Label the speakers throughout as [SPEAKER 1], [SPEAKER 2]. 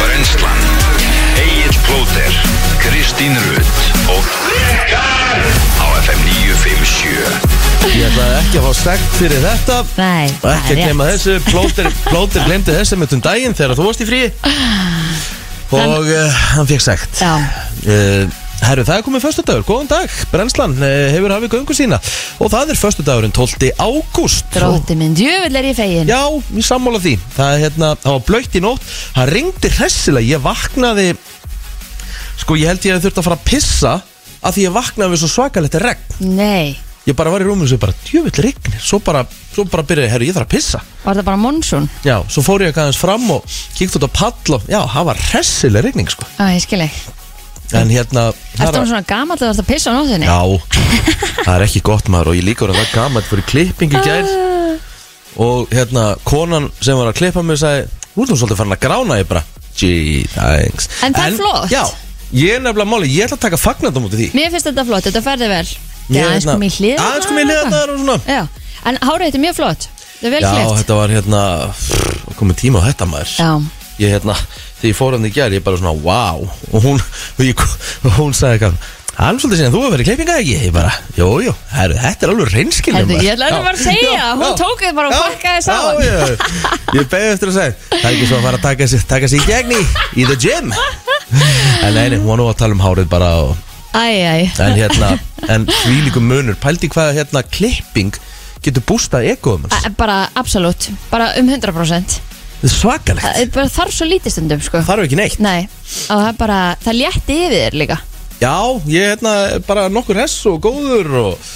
[SPEAKER 1] Brennslan Egil Plóter Kristín Rutt og á FM 957
[SPEAKER 2] Ég ætlaði ekki að fá sekt fyrir þetta
[SPEAKER 3] Nei,
[SPEAKER 2] og ekki að
[SPEAKER 3] það er
[SPEAKER 2] glemma
[SPEAKER 3] rétt.
[SPEAKER 2] þessu Plóter, plóter glemdi þessu mitt um daginn þegar þú varst í frí og uh, hann fekk sekt
[SPEAKER 3] Ah. Já.
[SPEAKER 2] uh, Herru, það er komið föstudagur, góðan dag Brennslan uh, hefur hafið göngu sína og það er föstudagurinn 12. ágúst
[SPEAKER 3] Drótti minn, djövel er ég fegin
[SPEAKER 2] Já, ég sammála því Það er hérna, það var blöytt í nótt Það ringdi hressilega, ég vaknaði Sko, ég held ég að þurfti að fara að pissa Af því ég vaknaði við svo svakalegt regn
[SPEAKER 3] Nei,
[SPEAKER 2] Ég bara var í rúminu og svo bara, djöfull regnir Svo bara, svo bara byrjaði, herru, ég þarf að pissa
[SPEAKER 3] var það bara monsun?
[SPEAKER 2] Já, svo fór ég aðeins fram og kíkt út á pall og Já, það var hressileg regning, sko
[SPEAKER 3] Á, ég skil ekki
[SPEAKER 2] En hérna það
[SPEAKER 3] Ertu
[SPEAKER 2] er
[SPEAKER 3] hún
[SPEAKER 2] að-
[SPEAKER 3] svona gamall að þú ert að pissa á nóðinni?
[SPEAKER 2] Já, það er ekki gott maður og ég líka orðin það gaman fyrir klipping í gær
[SPEAKER 3] Ah.
[SPEAKER 2] og hérna konan sem var að klippa mig sagði Þú ert nú svolítið farin að grána ég bara Gee, thanks
[SPEAKER 3] En það er flott.
[SPEAKER 2] Já, ég er nefnilega máli, ég ætla að taka fagnandum út af því
[SPEAKER 3] Mér finnst þetta flott, þetta ferði vel
[SPEAKER 2] Ég er
[SPEAKER 3] Já, aðeins
[SPEAKER 2] hérna-
[SPEAKER 3] kom í hlið
[SPEAKER 2] Aðeins kom í hliðarnar og svona.
[SPEAKER 3] Já, en hárið þetta er mjög flott Það er vel
[SPEAKER 2] Já,
[SPEAKER 3] klift
[SPEAKER 2] þetta var hérna pff, komið tíma á þetta maður
[SPEAKER 3] Já.
[SPEAKER 2] Ég hérna, þegar ég fór hann í gær ég bara svona, wow og hún, og ég, og hún sagði eitthvað Hann svolítið síðan, þú hefur verið klippinga ekki? Ég bara, jú, jú, herru, þetta er alveg reynskilum
[SPEAKER 3] Herðu, ég ætlaði bara að segja, hún tók þið bara og pakkaði saman.
[SPEAKER 2] Já, já, ég beði eftir að segja Það er ekki svo að fara að taka sig, taka sig í gegni í the gym En nei, nei, hún var nú að tala um hárið bara og,
[SPEAKER 3] Æ, æ,
[SPEAKER 2] En hérna, en svílíkum munur Pældi hvað hérna klipping getur bústað egoðum
[SPEAKER 3] Æ, Bara absolutt, bara um 100%
[SPEAKER 2] Þetta er svakalegt
[SPEAKER 3] Það er bara þarf svo lítið stundum sko
[SPEAKER 2] Það eru ekki neitt
[SPEAKER 3] Nei, og það er bara, það létti yfir þér líka
[SPEAKER 2] Já, ég er hérna bara nokkur hess og góður og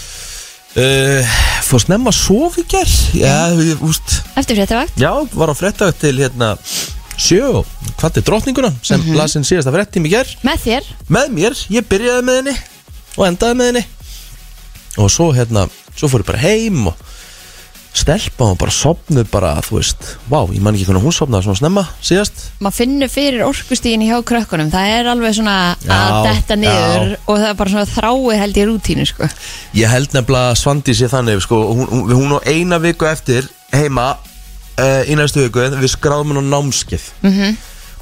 [SPEAKER 2] uh, Fór snemma að sofa í gerð Já, ég, úst,
[SPEAKER 3] Eftir fréttavakt
[SPEAKER 2] já, var á frettag til hérna sjö og hvað er drottninguna sem mm -hmm. lasin síðasta frettim í gerð
[SPEAKER 3] Með þér
[SPEAKER 2] Með mér, ég byrjaði með henni og endaði með henni Og svo hérna, svo fór ég bara heim og stelpa og bara sopnuð bara, þú veist, vá, ég man ekki hvernig hún sopnaði svona snemma síðast
[SPEAKER 3] maður finnur fyrir orkustíginni hjá krökkunum það er alveg svona að
[SPEAKER 2] Já,
[SPEAKER 3] detta niður og það er bara svona þrái held í rútínu sko.
[SPEAKER 2] Ég held nefnilega að Svandi sé þannig sko, hún, hún, hún á eina viku eftir heima uh, í næstu viku við skráðum hún á námskið
[SPEAKER 3] Mhm.
[SPEAKER 2] -hmm.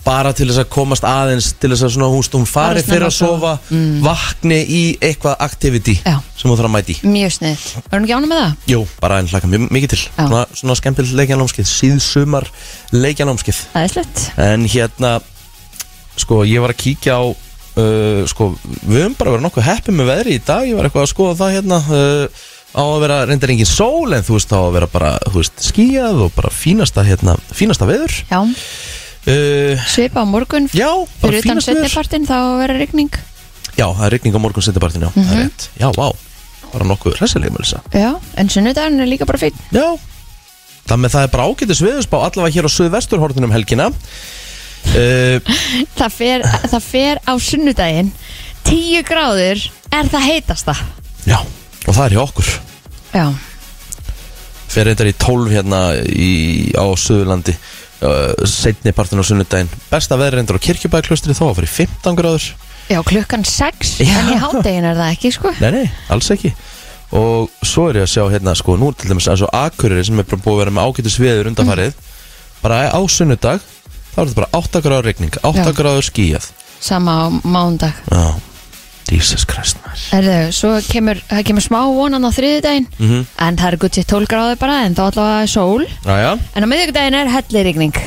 [SPEAKER 2] bara til þess að komast aðeins til þess að svona, hún, hún fari
[SPEAKER 3] Bara snemma
[SPEAKER 2] fyrir að
[SPEAKER 3] að sofa.
[SPEAKER 2] sofa vakni í eitthvað activity
[SPEAKER 3] Já.
[SPEAKER 2] sem hún þarf að mæti í
[SPEAKER 3] mjög snið, varum ekki ánum með það?
[SPEAKER 2] Jú, bara enn hlaka mjög mikið til
[SPEAKER 3] Já.
[SPEAKER 2] svona, svona skemmtileg leikjanámskið, síðsumar leikjanámskið
[SPEAKER 3] það er slett
[SPEAKER 2] en hérna sko ég var að kíkja á uh, sko við höfum bara verið nokkuð heppið með veðri í dag, ég var eitthvað að skoða það hérna uh, á að vera reyndar engin sól en þú veist á að vera bara þú veist, skíjað og bara fínasta hérna, fínasta veður
[SPEAKER 3] já,
[SPEAKER 2] uh,
[SPEAKER 3] svipa á morgun
[SPEAKER 2] já, bara
[SPEAKER 3] fyrir utan
[SPEAKER 2] fínasta veður
[SPEAKER 3] setnipartin þá verður rigning
[SPEAKER 2] já, það er rigning á morgun setjapartin, já,
[SPEAKER 3] Mhm.
[SPEAKER 2] það er rétt já, vá, bara nokkuð hressileg með þessa
[SPEAKER 3] já, en sunnudagurinn er líka bara fín
[SPEAKER 2] já, það með það er bara ágætis veðurspá allavega hér á suðvesturhortunum helgina uh,
[SPEAKER 3] það fer, það fer á sunnudaginn 10 gráður er það heitasta
[SPEAKER 2] já, og það er hjá okkur
[SPEAKER 3] já,
[SPEAKER 2] fer reyndar í 12 hérna í, á Suðurlandi uh, setni partin á sunnudaginn besta veður reyndar á kirkjubæðklustri þá að fyrir 15 gráður
[SPEAKER 3] já klukkan 6
[SPEAKER 2] Já.
[SPEAKER 3] en í hádeginn er það ekki sko
[SPEAKER 2] nei nei, alls ekki og svo er ég að sjá hérna sko nú er til dæmis eins og Akureyri sem er bara búið að vera með ágætis veður undanfarið bara á sunnudag þá er þetta bara 8 gráður regning 8
[SPEAKER 3] Já.
[SPEAKER 2] gráður skíjað
[SPEAKER 3] sama á mándag
[SPEAKER 2] já, Jesus Christ maður
[SPEAKER 3] Erðu, svo kemur, það kemur smá vonan á þriðudaginn
[SPEAKER 2] Mhm.
[SPEAKER 3] en það er gutið 12 gráði bara en þá allavega er sól
[SPEAKER 2] Jæja,
[SPEAKER 3] en á miðvikudaginn er hellirigning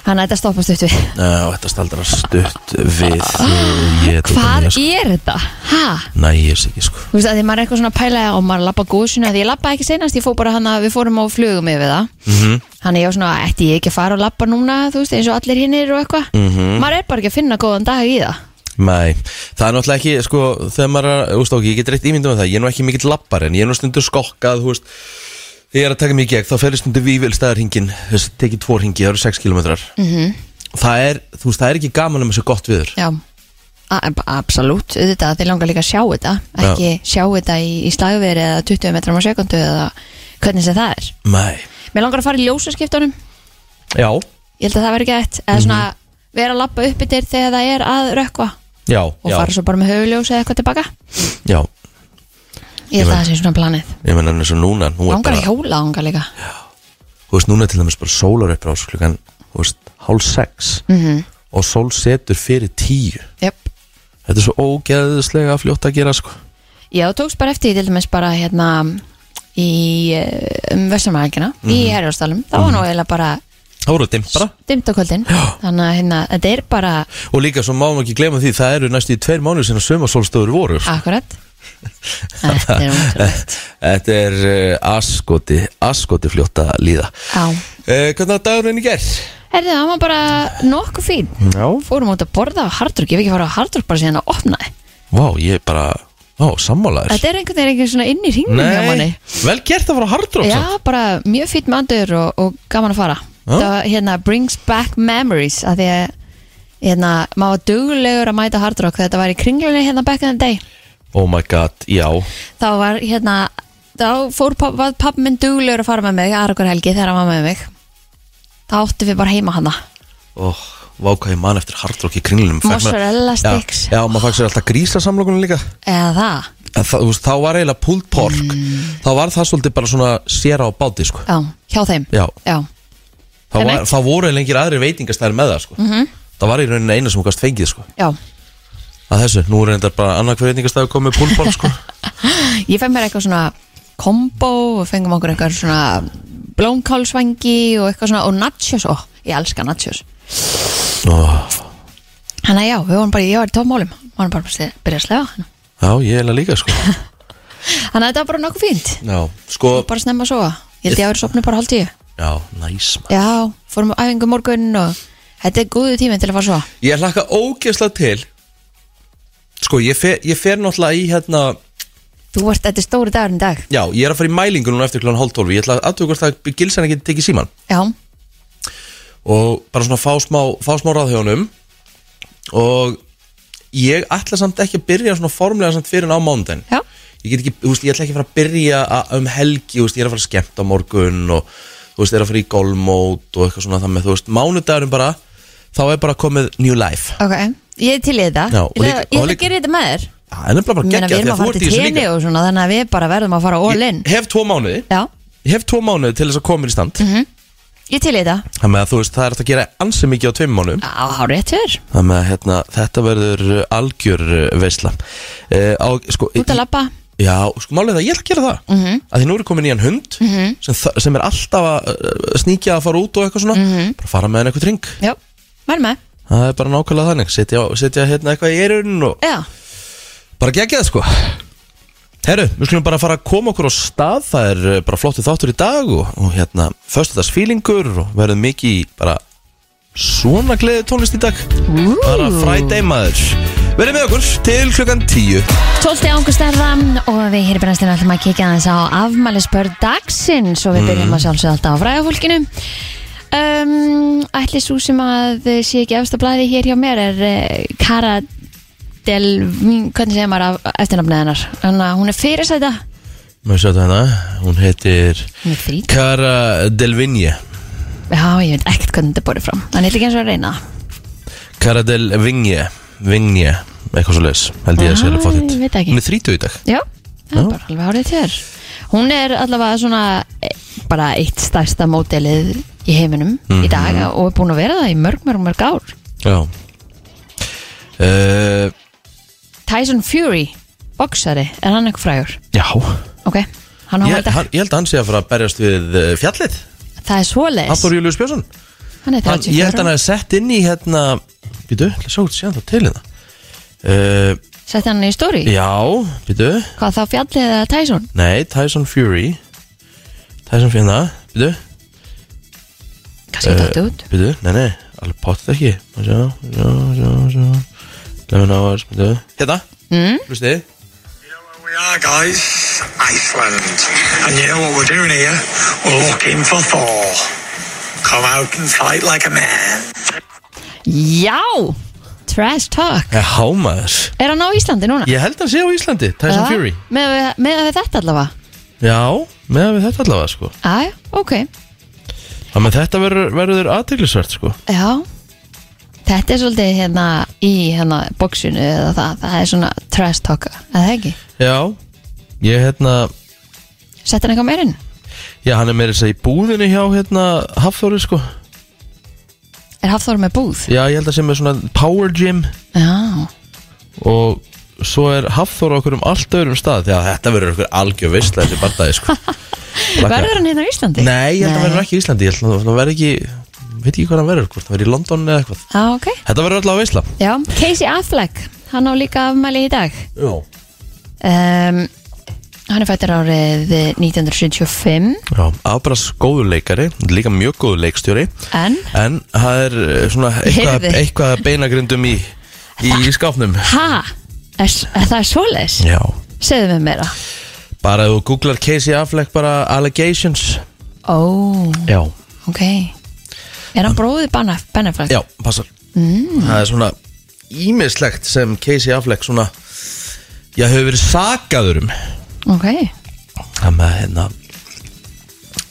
[SPEAKER 3] þannig að þetta stoppast upp við
[SPEAKER 2] uh, og þetta staldar að stutt við uh, ég tók að
[SPEAKER 3] Hvað
[SPEAKER 2] mér, sko.
[SPEAKER 3] er þetta? Hæ?
[SPEAKER 2] Næ, ég er ekki sko
[SPEAKER 3] Þú veist að því maður er eitthvað svona að pæla og maður lappa góðsuna því ég lappa ekki senast, ég fó bara hann að við fórum á flugum yfir það
[SPEAKER 2] Mhm.
[SPEAKER 3] Þannig ég var svona, ætti ég ekki að fara og lappa núna, þú veist, eins og allir hinnir og eitthvað
[SPEAKER 2] Mhm.
[SPEAKER 3] Maður er bara ekki að finna góðan dag í það
[SPEAKER 2] Nei, það er náttúrulega ekki, sko, þegar maður, er að- þú veist, ok, ég get reitt ímyndum með það, ég er nú ekki mikill lappar en ég er nú stundur skokkað, þú veist, þegar ég er að taka mig í gegn, þá fer ég stundur vívilstæðarhingin, þú veist, tekið tvo ringi, það eru 6 kilometrar.
[SPEAKER 3] Mhm.
[SPEAKER 2] Það er, þú veist, það er ekki gaman um þessu gott viður.
[SPEAKER 3] Já, A- ab- absolutt auðvitað, þeir langar líka að sjá þetta ekki sjá þetta í, í slagveri eða 20 metrum á sekundu eða hvernig sem það er
[SPEAKER 2] Nei.
[SPEAKER 3] Mér langar að fara í ljósaskiptunum
[SPEAKER 2] Já,
[SPEAKER 3] ég held að það verður ekki eitt
[SPEAKER 2] Mhm.
[SPEAKER 3] eða svona vera að lappa uppi til þegar það er að rökkva
[SPEAKER 2] já,
[SPEAKER 3] og
[SPEAKER 2] já,
[SPEAKER 3] fara svo bara með höfuljós eða eitthvað tilbaka
[SPEAKER 2] já,
[SPEAKER 3] Ég held að
[SPEAKER 2] veit.
[SPEAKER 3] það sé svona planið
[SPEAKER 2] ég menn en eins og núna, nú er
[SPEAKER 3] Langar
[SPEAKER 2] bara,
[SPEAKER 3] að hjóla ánga líka
[SPEAKER 2] þú veist, núna er til dæmis bara sólaröppur ás klukkan þú veist, hálf sex
[SPEAKER 3] Mhm,
[SPEAKER 2] -hmm. og sól setur fyrir tíu
[SPEAKER 3] Jöp.
[SPEAKER 2] þetta er svo ógeðslega fljótt að gera sko
[SPEAKER 3] Já, þú tókst bara eftir því til dæmis bara hérna í eh, um Vestamælgina
[SPEAKER 2] Mhm.
[SPEAKER 3] í Herjóðstálum, það var nú eiginlega bara
[SPEAKER 2] það voru dimmt bara
[SPEAKER 3] dimt á kvöldin þannig að hérna, þetta er bara
[SPEAKER 2] og líka svo máum ekki gleyma því það eru næstu í tveir mánuð sinna sömarsólstöður voru sko.
[SPEAKER 3] akkurat Þetta er ótrúlegt.
[SPEAKER 2] þetta er uh, askoti askoti fljótt að líða
[SPEAKER 3] Já.
[SPEAKER 2] uh, hvernig að dagurinn í gerð?
[SPEAKER 3] Herðu, það var bara nokkuð fín
[SPEAKER 2] Já.
[SPEAKER 3] Fórum út að borða á hardrock Ég hef ekki farið á hardrock bara síðan að opna
[SPEAKER 2] Vá, ég er bara, vá, sammálaður
[SPEAKER 3] Þetta er einhvern veginn ekki svona inn í hringnum hjá manni
[SPEAKER 2] Nei, vel gert að fara á hardrock
[SPEAKER 3] Já,
[SPEAKER 2] samt.
[SPEAKER 3] bara mjög fýtt matur og, og gaman að fara Það var hérna brings back memories að því að hérna, maður var duglegur að mæta hardrock þetta var í kringlunni hérna back in the day
[SPEAKER 2] Oh my god, já
[SPEAKER 3] þá var hérna þá fór papp, var pappi minn duglegur að fara með mig aðra okkur helgi þegar hann var með mig þá áttum við bara heima hana
[SPEAKER 2] oh, Vá, hvað ég man eftir hardrock í kringlunum Fekk maður-
[SPEAKER 3] Mozzarella sticks.
[SPEAKER 2] Já, já maður fæk sér alltaf grísa samlokunum líka
[SPEAKER 3] eða það
[SPEAKER 2] En það, þú veist, Þá var eiginlega pulled pork
[SPEAKER 3] Mm.
[SPEAKER 2] Þá var það svolítið bara svona sér á báti sko.
[SPEAKER 3] Já, hjá þeim
[SPEAKER 2] Já. það, var,
[SPEAKER 3] einmitt.
[SPEAKER 2] það voru lengir aðri veitingastæðir með það sko. -hmm. Það var í rauninni eina sem okkast fengið sko.
[SPEAKER 3] Já.
[SPEAKER 2] Að þessu, nú er reyndar bara annar hver veitingastæði komið pulled pork sko.
[SPEAKER 3] Ég fæ mér eitthvað svona kombo og fengum okkur eitthvað svona blómkálsvangi og eitthvað svona og nachos, ó, ég elska nachos
[SPEAKER 2] oh,
[SPEAKER 3] Þannig að já, við vorum bara, ég var í tómálum vorum bara að byrja að slefa
[SPEAKER 2] Já, ég eiginlega líka sko.
[SPEAKER 3] Þannig að þetta var bara nokkuð fínt
[SPEAKER 2] Já, sko
[SPEAKER 3] bara snemma að sofa, ég held ég að vera sopnu bara hálf tíu
[SPEAKER 2] Já, næs maður
[SPEAKER 3] Já, fórum á æfingu morgun og þetta er góðu tími til að fara að sofa
[SPEAKER 2] Ég hlakka ógeðslega til Sko, ég fer, ég fer náttúrulega í hérna
[SPEAKER 3] Þú ert, þetta er stóri dagur í dag
[SPEAKER 2] Já, ég er að fara í mælingu núna eftir klón hálf tólfi Ég ætla að aðtöku hvort það gilsan ekki tekið síman
[SPEAKER 3] Já,
[SPEAKER 2] Og bara svona fá smá, fá smá ráðhjónum Og ég ætla samt ekki að byrja svona formlega samt fyrir en á mándin
[SPEAKER 3] já,
[SPEAKER 2] Ég get ekki, þú veist, ég ætla ekki að fara að byrja að, um helgi Þú veist, ég er að fara að skemmta á morgun Og þú veist, ég er að fara í golfmót Og eitthvað svona það með, þú veist, mánudagurinn bara Þá er bara komið new life
[SPEAKER 3] ok Ég er til í þetta
[SPEAKER 2] Já, og
[SPEAKER 3] Ég
[SPEAKER 2] líka-
[SPEAKER 3] ætla ég ætla
[SPEAKER 2] og
[SPEAKER 3] að
[SPEAKER 2] líka-
[SPEAKER 3] gera þetta með þér
[SPEAKER 2] Það er nefnilega bara
[SPEAKER 3] Ég meina,
[SPEAKER 2] geggja
[SPEAKER 3] Við erum að fara til tenni og svona þannig að við bara verðum að fara all in
[SPEAKER 2] Ég hef tvo mánuði
[SPEAKER 3] Já, Mhm.
[SPEAKER 2] Ég hef tvo mánuði til þess að koma mér í stand
[SPEAKER 3] ég til í þetta
[SPEAKER 2] Þannig að þú veist, það er hægt að gera ansi mikið á tveim mánuðum
[SPEAKER 3] Á, á rétt hér
[SPEAKER 2] Þannig að hérna, þetta verður uh, algjör uh, veisla uh, á, sko,
[SPEAKER 3] Út að lappa
[SPEAKER 2] Já, sko málið er það, ég ætla að gera það mm -hmm. Því nú er komin í hann hund sem, þa- sem er alltaf að uh, sníkja að fara út og eitthvað svona Bara fara með hann eitthvað drink
[SPEAKER 3] Já, væri með
[SPEAKER 2] Það er bara nákvæmlega þannig Setja, setja hérna eitthvað í eirun og
[SPEAKER 3] Já,
[SPEAKER 2] bara gegja það sko Herru, við skulum bara fara að koma okkur á stað Það er uh, bara flottu þáttur í dag og, og hérna, föstudagsfílingur og verðum mikið í bara svona gleði tónlist í dag bara frædei maður Verðum með okkur til klukkan 10
[SPEAKER 3] 12. ángust er það og við hér í brennstinu ætlum að kíkja aðeins á afmælisbörn dagsins og við byrjum að sjálfsögða alltaf á fræðafólkinu um, Ætli svo sem að sé ekki efsta blæði hér hjá mér er uh, Cara Del, hvernig segir maður af eftirnafnið hennar Þannig að hún er fyrirsæta
[SPEAKER 2] Mér sjá þetta hérna, hún heitir
[SPEAKER 3] Hún er þrít
[SPEAKER 2] Cara Delvinje
[SPEAKER 3] Já, ég veit ekkert hvernig þetta borði fram Þannig ætla ekki eins og að reyna það.
[SPEAKER 2] Cara Delvinje Vinje, eitthvað svo leis held ég að segja
[SPEAKER 3] Æ,
[SPEAKER 2] að fá þetta
[SPEAKER 3] ég veit ekki.
[SPEAKER 2] Hún er 30 í dag
[SPEAKER 3] Já, það
[SPEAKER 2] Já.
[SPEAKER 3] er bara alveg hárið þér Hún er allavega svona eh, bara eitt stærsta mótelið í heiminum í dag og er búin að vera það í mörg, mörg, mörg ár
[SPEAKER 2] Já uh,
[SPEAKER 3] Tyson Fury, boksari er hann eitthvað frægur?
[SPEAKER 2] Já
[SPEAKER 3] Ok, hann á
[SPEAKER 2] Ég,
[SPEAKER 3] hálta
[SPEAKER 2] hann, ég held að hann sé að fara að berjast við uh, fjallið
[SPEAKER 3] Það er svoleiðis,
[SPEAKER 2] Halldór Július Björnsson
[SPEAKER 3] hann er
[SPEAKER 2] hann,
[SPEAKER 3] 34
[SPEAKER 2] Ég held að hann að sett inn í hérna Býtu, svo sé hann það til hérna uh,
[SPEAKER 3] Sett hann í stóri?
[SPEAKER 2] Já, býtu
[SPEAKER 3] Hvað þá fjallið eða Tyson?
[SPEAKER 2] Nei, Tyson Fury Tyson Fury, hérna, býtu Eh.
[SPEAKER 3] Kannski uh, dætti út
[SPEAKER 2] Býtu, nei, nei, alveg potið ekki Má Sjá, sjá, sjá, sjá Lemon hours, býtu Hérna,
[SPEAKER 3] mm?
[SPEAKER 2] hlustið
[SPEAKER 4] We are, guys, Iceland. And you know what we're doing here? We're looking for Thor. Come out and fight like a man.
[SPEAKER 3] Já, trash talk
[SPEAKER 2] Já, hámaður
[SPEAKER 3] Er hann á Íslandi núna?
[SPEAKER 2] Ég held að hann sé á Íslandi, Tyson
[SPEAKER 3] Eða?
[SPEAKER 2] Fury
[SPEAKER 3] Með, með þetta allavega
[SPEAKER 2] Já, meðan við þetta allavega sko
[SPEAKER 3] Æ, ok
[SPEAKER 2] Þannig að þetta verður- verður aðteglisvert sko
[SPEAKER 3] Já Þetta er svolítið hérna í hérna bóksinu eða það, það er svona trash talka, eða það ekki?
[SPEAKER 2] Já, ég hérna
[SPEAKER 3] Sett hann eitthvað meirinn?
[SPEAKER 2] Já, hann er meira að segja í búðinu hjá hérna Hafþóri sko
[SPEAKER 3] Er Hafþór með búð?
[SPEAKER 2] Já, ég held að sem er svona power gym
[SPEAKER 3] Já,
[SPEAKER 2] og svo er Hafþór á okkur um allt öðrum stað því að þetta verður okkur algjör veistla þessi barndagi sko. Lakka.
[SPEAKER 3] verður hann hérna á Íslandi?
[SPEAKER 2] Nei, ég held að hann
[SPEAKER 3] Nei.
[SPEAKER 2] verður ekki í Íslandi ég held að hann verður ekki, veit ekki hvað hann verður hvort það verður í London eða eitthvað
[SPEAKER 3] Á, ok
[SPEAKER 2] Þetta verður alltaf veistla
[SPEAKER 3] Já, Casey Affleck, hann á líka afmæli í dag
[SPEAKER 2] Já,
[SPEAKER 3] um, Hann er fættur árið 1975
[SPEAKER 2] Já afbrast góður leikari líka mjög góður leikstjóri
[SPEAKER 3] En
[SPEAKER 2] en það er eh, svona eitthvað,
[SPEAKER 3] Heyrði.
[SPEAKER 2] eitthvað beinagrindum í, í, í skápnum
[SPEAKER 3] Ha? Er, er það svoleiðis?
[SPEAKER 2] Já,
[SPEAKER 3] Segðu mér meira
[SPEAKER 2] bara ef þú googlar Casey Affleck bara allegations
[SPEAKER 3] Ó,
[SPEAKER 2] Já,
[SPEAKER 3] ok Er hann bróðið Ben Affleck?
[SPEAKER 2] Já, passar mm. Það er svona ímislegt sem Casey Affleck svona Já, hefur verið sakaður um
[SPEAKER 3] Ok,
[SPEAKER 2] Það með hérna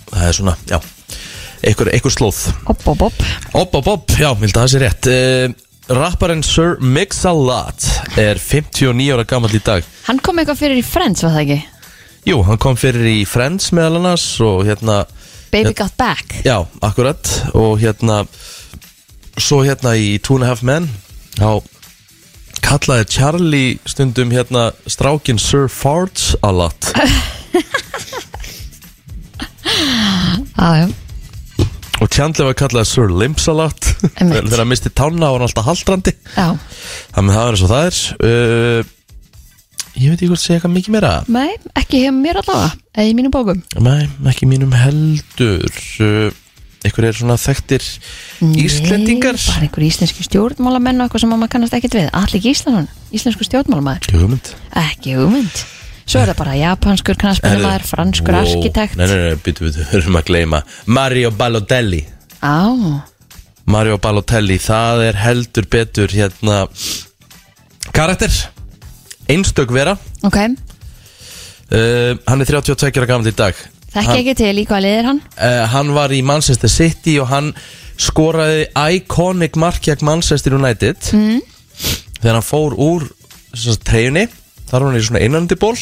[SPEAKER 2] Það er svona, já Einhver, einhver slóð
[SPEAKER 3] hopp, hopp, hopp
[SPEAKER 2] Opp, opp, opp, já, ég held að það sé rétt uh, Rapparinn Sir Mix-a-Lot er 59 ára gamall í dag
[SPEAKER 3] Hann kom eitthvað fyrir í Friends, var það ekki?
[SPEAKER 2] Jú, hann kom fyrir í Friends meðal annars og hérna
[SPEAKER 3] Baby Got Back
[SPEAKER 2] Já, akkurat og hérna svo hérna í Two and a Half Men þá kallaði Charlie stundum hérna strákin Sir Farts a lot
[SPEAKER 3] Já, já,
[SPEAKER 2] og Chandler var kallaði Sir Limps a lot
[SPEAKER 3] Einmitt.
[SPEAKER 2] þegar hann misti tánna var hann alltaf haldrandi
[SPEAKER 3] já
[SPEAKER 2] þannig að það er eins og það er uh, ég veit ekki hvort segja eitthvað mikið meira
[SPEAKER 3] Nei, ekki hjá mér allavega, eða í mínum bókum
[SPEAKER 2] Nei, ekki mínum heldur uh, ykkur er svona þekktir Íslendingar
[SPEAKER 3] Nei, bara einhver íslenski stjórnmálamenn og eitthvað sem maður kannast ekkert við Allir ekki Íslandun, íslensku stjórnmálamaður
[SPEAKER 2] Hugmynd
[SPEAKER 3] Ekki hugmynd Svo er það bara japanskur knarsmennamaður,
[SPEAKER 2] Herðu,
[SPEAKER 3] franskur
[SPEAKER 2] wow.
[SPEAKER 3] arkitekt
[SPEAKER 2] Nei, nei, nei, býtu, býtu, höfum að gleyma Mario Balotelli
[SPEAKER 3] Á,
[SPEAKER 2] Mario Balotelli, það er heldur betur hérna Karakter Einstök vera
[SPEAKER 3] ok
[SPEAKER 2] uh, Hann er 32 ára gamall í dag
[SPEAKER 3] Þekki
[SPEAKER 2] hann,
[SPEAKER 3] ekki til í hvað liðir hann
[SPEAKER 2] uh, hann var í Manchester City og hann skoraði iconic markjag Manchester United mm. Þegar hann fór úr sem sagt, treyjunni Þar var hann í svona einandiból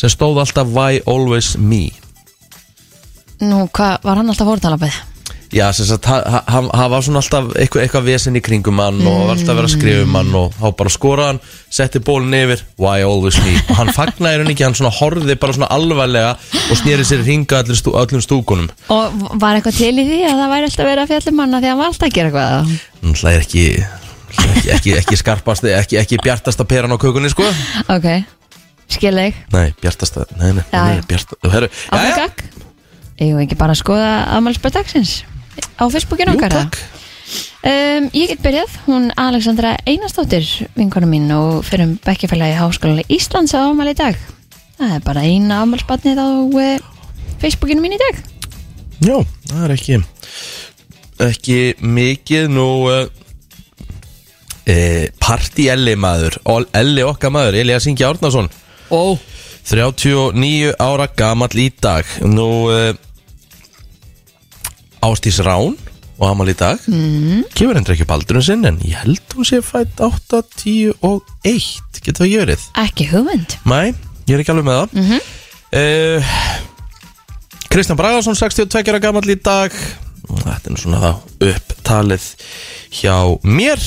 [SPEAKER 2] sem stóð alltaf Why Always Me
[SPEAKER 3] Nú, hvað, var hann alltaf fórtalapið?
[SPEAKER 2] Já, sem sagt, ha- ha- hann hann var svona alltaf eitthvað, eitthvað vesen í kringum hann og var alltaf að vera að skrifa um hann og þá bara skoraði hann, setti bólinn yfir Why always me? Og hann fagnaði hann ekki, hann svona horfði bara svona alvarlega og snýri sér hringa allir stú, öllum stúkunum
[SPEAKER 3] Og var eitthvað til í því að það væri alltaf verið að fjallum hann af því að hann var alltaf að gera eitthvað
[SPEAKER 2] Það er ekki, náttúrulega ekki, ekki, ekki skarpasti, ekki, ekki bjartasta peran á kökunni, sko
[SPEAKER 3] Ok, skilleg
[SPEAKER 2] Nei, bjartasta, nei, nei,
[SPEAKER 3] Já,
[SPEAKER 2] nei,
[SPEAKER 3] já.
[SPEAKER 2] bjartasta Herru,
[SPEAKER 3] Áfram gagg Ég hef ekki bara að skoða afmælspöð dagsins Á Facebookinu
[SPEAKER 2] jú,
[SPEAKER 3] okkar
[SPEAKER 2] takk
[SPEAKER 3] um, Ég get byrjað, hún Alexandra Einarsdóttir vinkonu mín og fyrir bekkjafélagi Háskóla Íslands á afmæli í dag Það er bara eina afmælspöðnið á eh, Facebookinu mín í dag
[SPEAKER 2] Já, það er ekki ekki mikið nú uh, e, partí Elli maður Ol- Elli okkar maður, Elias Ingi Árnason
[SPEAKER 3] Ó
[SPEAKER 2] 39 ára gamall í dag nú uh, Ástís Rán og amal í dag mm. kemur hendur ekki upp aldurinn sinn en ég held hún sé fætt 8, 10 og 1 getur það gjörið
[SPEAKER 3] Ekki hugmynd
[SPEAKER 2] Mæ, ég er ekki alveg með það mm -hmm. Kristján Bragarsson, 62 ára gamall í dag Þetta er nú svona það upptalið hjá mér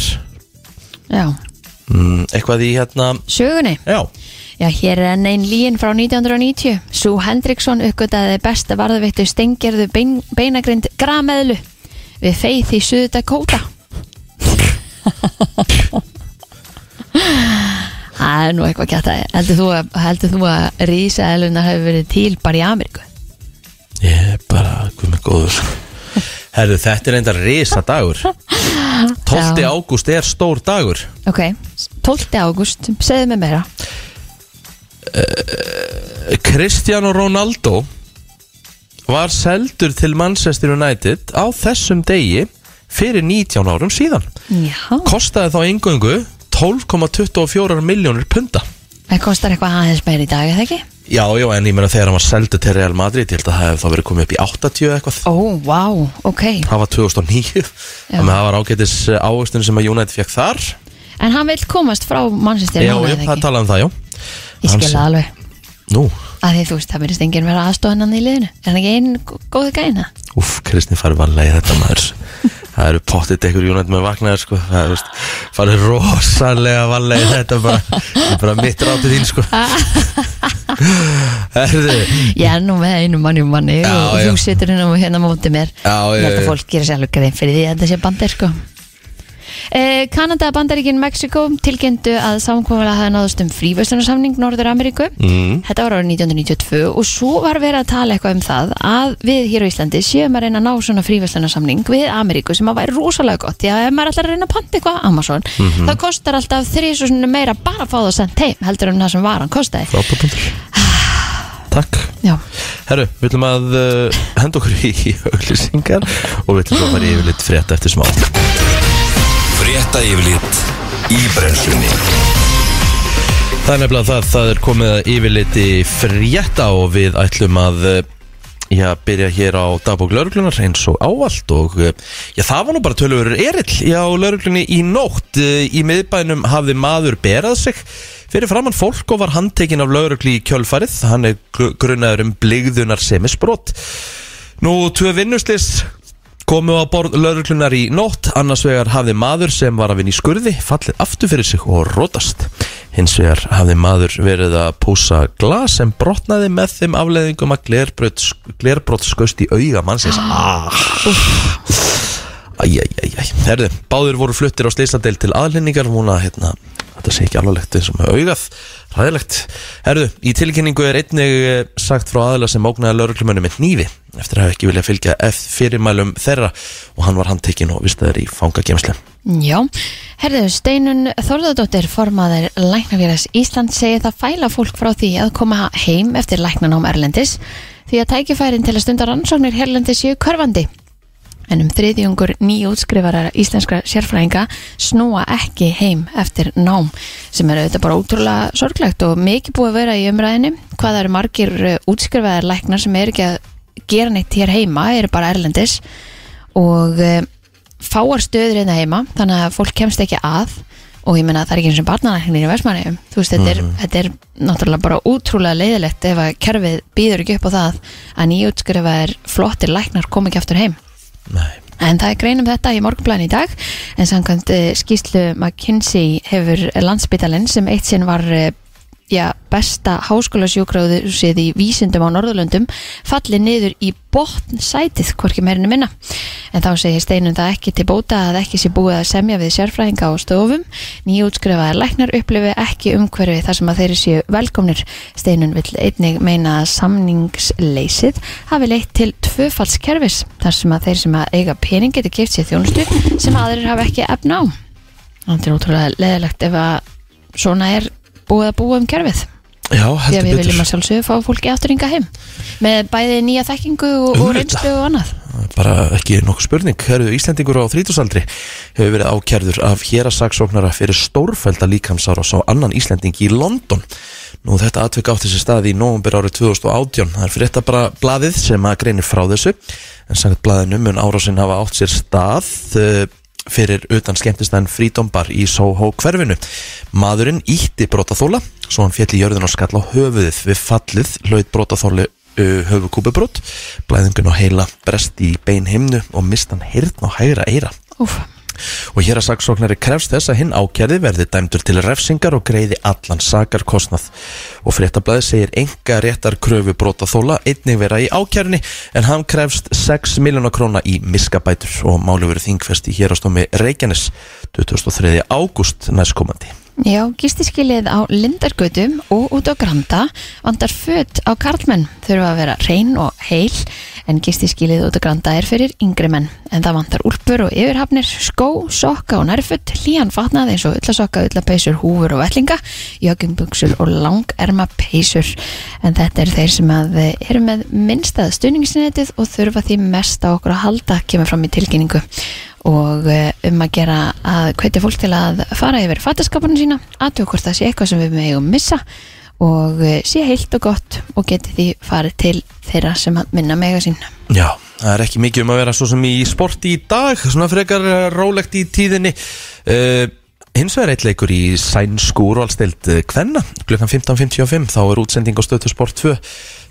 [SPEAKER 3] Já,
[SPEAKER 2] mm, Eitthvað í hérna
[SPEAKER 3] sögunni
[SPEAKER 2] Já,
[SPEAKER 3] Já, hér er enn einn líin frá 1990. Sú Hendriksson uppgötaði besta varðvittu stengjörðu bein, beinagrind grameðlu við feið í Suðu Dakota. Það er nú eitthvað gætt að heldur þú að, heldur þú að rísaðelunar hefur verið til bara í Ameríku?
[SPEAKER 2] ég er bara Hvað með góður Herðu, þetta er enda risa dagur 12.
[SPEAKER 3] Já.
[SPEAKER 2] ágúst er stór dagur
[SPEAKER 3] Ok, 12. ágúst, segðu mig meira.
[SPEAKER 2] Kristján og Ronaldo var seldur til Manchester United á þessum degi fyrir 19 árum síðan
[SPEAKER 3] Já,
[SPEAKER 2] kostaði þá engöngu 12,24 miljónir punda
[SPEAKER 3] það kostar eitthvað aðeins meira í dag, eða ekki?
[SPEAKER 2] Já, já, en ég meina þegar hann var seldu til Real Madrid ég held að það hefði þá verið komið upp í 80 eða eitthvað
[SPEAKER 3] Ó, oh, vá, ok.
[SPEAKER 2] það var 2009 þannig að það var ágætis eh, ávöxtun sem að United fekk þar
[SPEAKER 3] En hann vil komast frá mannsistir
[SPEAKER 2] Já, já, það talaði um það, já
[SPEAKER 3] Ég skil
[SPEAKER 2] Hans-
[SPEAKER 3] það alveg.
[SPEAKER 2] Nú,
[SPEAKER 3] að því þú veist, það verðist enginn vera aðstofanann í liðinu er hann ekki einn gó- góði gæna?
[SPEAKER 2] úff, Kristni farið varlega í þetta maður það eru pottit ykkur United með vaknaður sko það er, veist, farið rosalega varlega í þetta bara, þetta er bara mitt rátið þín sko Herðu
[SPEAKER 3] Ég er nú með einu manni um manni
[SPEAKER 2] Já,
[SPEAKER 3] og
[SPEAKER 2] já.
[SPEAKER 3] þú situr hérna á hérna á móti mér
[SPEAKER 2] Já,
[SPEAKER 3] Ég held
[SPEAKER 2] já,
[SPEAKER 3] að
[SPEAKER 2] já.
[SPEAKER 3] fólk gerir sér alveg grein fyrir því að þetta sé bandir sko Eh, Kanada, Bandaríkin, Mexiko tilkynntu að samkomulega hafði náðust um fríverslunarsamning Norður Ameríku
[SPEAKER 2] Mhm.
[SPEAKER 3] Þetta var árið 1992 og svo var verið að tala eitthvað um það að við hér á Íslandi séum að reyna að ná svona fríverslunarsamning við Ameríku sem að væri rosalega gott því að ef maður ætlar að reyna að panta eitthvað á Amazon
[SPEAKER 2] Mhm.
[SPEAKER 3] það kostar alltaf þrísusunum meira bara að fá það sent heim heldur en það sem varan kostaði
[SPEAKER 2] Frábúrpundur Takk
[SPEAKER 3] Já,
[SPEAKER 2] Herru, við ætlum að uh, henda okkur í auglýsingar og við ætlum svo að fara yfir litt frétt eftir smá
[SPEAKER 1] Frétta yfirlit í brennslunni
[SPEAKER 2] Það er nefnilega það, það er komið að yfirliti frétta og við ætlum að eh, já, byrja hér á dagbók lauruglunar eins og ávallt og eh, já, það var nú bara tölurur erill já, lauruglunni í nótt Eh, í miðbænum hafði maður berað sig fyrir framann fólk og var handtekinn af laurugli í kjölfarið, hann er gru- grunaður um bligðunar semisbrot Nú, tvö vinnuslis komu á borð lauruglunar í nótt annars vegar hafði maður sem var að vinna í skurði fallið aftur fyrir sig og rótast hins vegar hafði maður verið að púsa glas sem brotnaði með þeim afleðingum að glerbrot, glerbrot skust í auga mannsins ah. Æjæjæjæj, herðu, báður voru fluttir á slýsadel til aðlendingar, vona hérna, þetta sé ekki alvarlegt eins og með augað, ræðilegt. Herðu, í tilkynningu er einnig eh, sagt frá aðla sem ógnaði lauruglumönnum með nýfi, eftir að hafa ekki viljað fylgja eftir fyrirmælum þeirra og hann var handtekinn og vist þeir í fangagemslu.
[SPEAKER 3] Já, herðu, Steinun Þorðardóttir formaður Læknafélags Ísland segir það fæla fólk frá því að koma heim eftir læknanám Erlendis því að tækifærin til að stunda rannsóknir Erlendis séu körfandi. En um þriðjungur nýjútskrifara íslenskra sérfræðinga snúa ekki heim eftir nám sem er auðvitað bara ótrúlega sorglegt og mikið búið að vera í umræðinni hvað það eru margir eh, útskrifaðar læknar sem eru ekki að gera neitt hér heima, eru bara erlendis og eh, fáar stöður hérna heima þannig að fólk kemst ekki að og ég meina að það er ekki eins og barnalæknir í versmanni þú veist, þetta, er, þetta er náttúrulega bara útrúlega leiðilegt ef að kerfið býður ekki upp á það að nýjútskrifaðir flottir læknar kom ekki aftur heim
[SPEAKER 2] Nei.
[SPEAKER 3] En það er grein um þetta í morgunblæðin í dag en samkvæmt eh, skýrslu McKinsey hefur landsbytalinn sem eitt sinn var eh, já, besta háskólasjúkraðusið í vísindum á Norðurlöndum fallið niður í botn sætið hvorki meirinu minna. En þá segir steinum það ekki til bóta að ekki sé búið að semja við sérfræðinga á stofum. Nýjútskrifaðar læknar upplifi ekki umhverfi þar sem að þeir séu velkomnir. Steinun vill einnig meina að samningsleysið hafi leitt til tvöfaldskerfis þar sem að þeir sem að eiga pening geti kipt sér þjónustu sem aðrir hafi ekki efna á. Það er ótrúlega leðilegt ef að svona er búið að búa um kerfið
[SPEAKER 2] Já,
[SPEAKER 3] því að
[SPEAKER 2] heldur
[SPEAKER 3] við viljum að
[SPEAKER 2] betur.
[SPEAKER 3] sjálfsögðu fá fólki afturringa heim með bæði nýja þekkingu og, og
[SPEAKER 2] Auðvitað.
[SPEAKER 3] reynslu og annað
[SPEAKER 2] Bara ekki nokkuð spurning. Herðu, Íslendingur á þrítusaldri hefur verið ákjærður af hérasaksóknara fyrir stórfælda líkamsára á annan Íslending í London. Nú þetta atvik átti sér stað í nóvumbir árið 2018. Það er fyrir þetta bara blaðið sem að greinir frá þessu. En sangat blaðinu mun árásinn hafa átt sér stað eh, fyrir utan skemmtistæðin frídombar í Soho hverfinu. Maðurinn ítti brotaþóla, svo hann fjalli jörðin og skall á höfuðið við fallið hlaut uh, brotaþóli höfukúpubrót, blæðingun og heila brest í beinhimnu og mistan hirtn og hægra eira
[SPEAKER 3] Úf,
[SPEAKER 2] og hér að saksóknari krefst þess að hinn ákjærði verði dæmdur til refsingar og greiði allan sakarkostnað og fréttablaði segir enga réttar kröfu brotaþóla einnig vera í ákjærni en hann krefst 6 miljonar króna í miskabætur og máli verið þingfest í hérastómi Reykjanes 23. ágúst næstkomandi
[SPEAKER 3] Já, gistiskilið á Lindargötum og út á Granda vandar föt á karlmenn þurfa að vera reyn og heil en gistiskilið út á Granda er fyrir yngri menn en það vandar úlpur og yfirhafnir skó, sokka og nærföt hlían fatnað eins og ullasokka, ullapeysur, húfur og vellinga, joggingbuxur og langerma peysur en þetta er þeir sem að eh, eru með minnstað stuðningsnetið og þurfa því mest á okkur að halda kemur fram í tilkynningu og eh, um að gera að hvetja fólk til að fara yfir fattaskapunum sína, aðtöku hvort það sé eitthvað sem við megum missa og eh, sé heilt og gott og geti því farið til þeirra sem að minna mega sín.
[SPEAKER 2] Já, það er ekki mikið um að vera svo sem í sporti í dag, svona frekar eh, rólegt í tíðinni. Uh, hins vegar eitt leikur í sænsku úrvalstild Kvenna, klukkan 15.55, þá er útsending á stöðtu sport 2.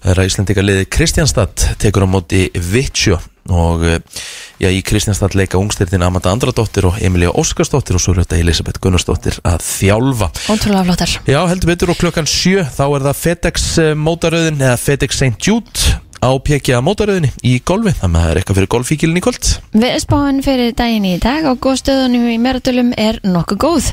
[SPEAKER 2] Það er að Íslandika liði Kristjánstad tekur á móti Vitsjó og eh, já, í Kristjánstall leika ungstyrtin Amanda Andradóttir og Emilia Óskarsdóttir og svo er þetta Elisabeth Gunnarsdóttir að þjálfa
[SPEAKER 3] Ótrúlega flottar
[SPEAKER 2] Já, heldur betur og klukkan sjö þá er það FedEx eh, mótaröðin eða FedEx St. Jude á PGA mótaröðinni í golfi þannig að það er eitthvað fyrir golfíkilin í kvöld
[SPEAKER 3] Veðspáin fyrir daginn í dag og góðstöðunum í Meradölum er nokkuð góð.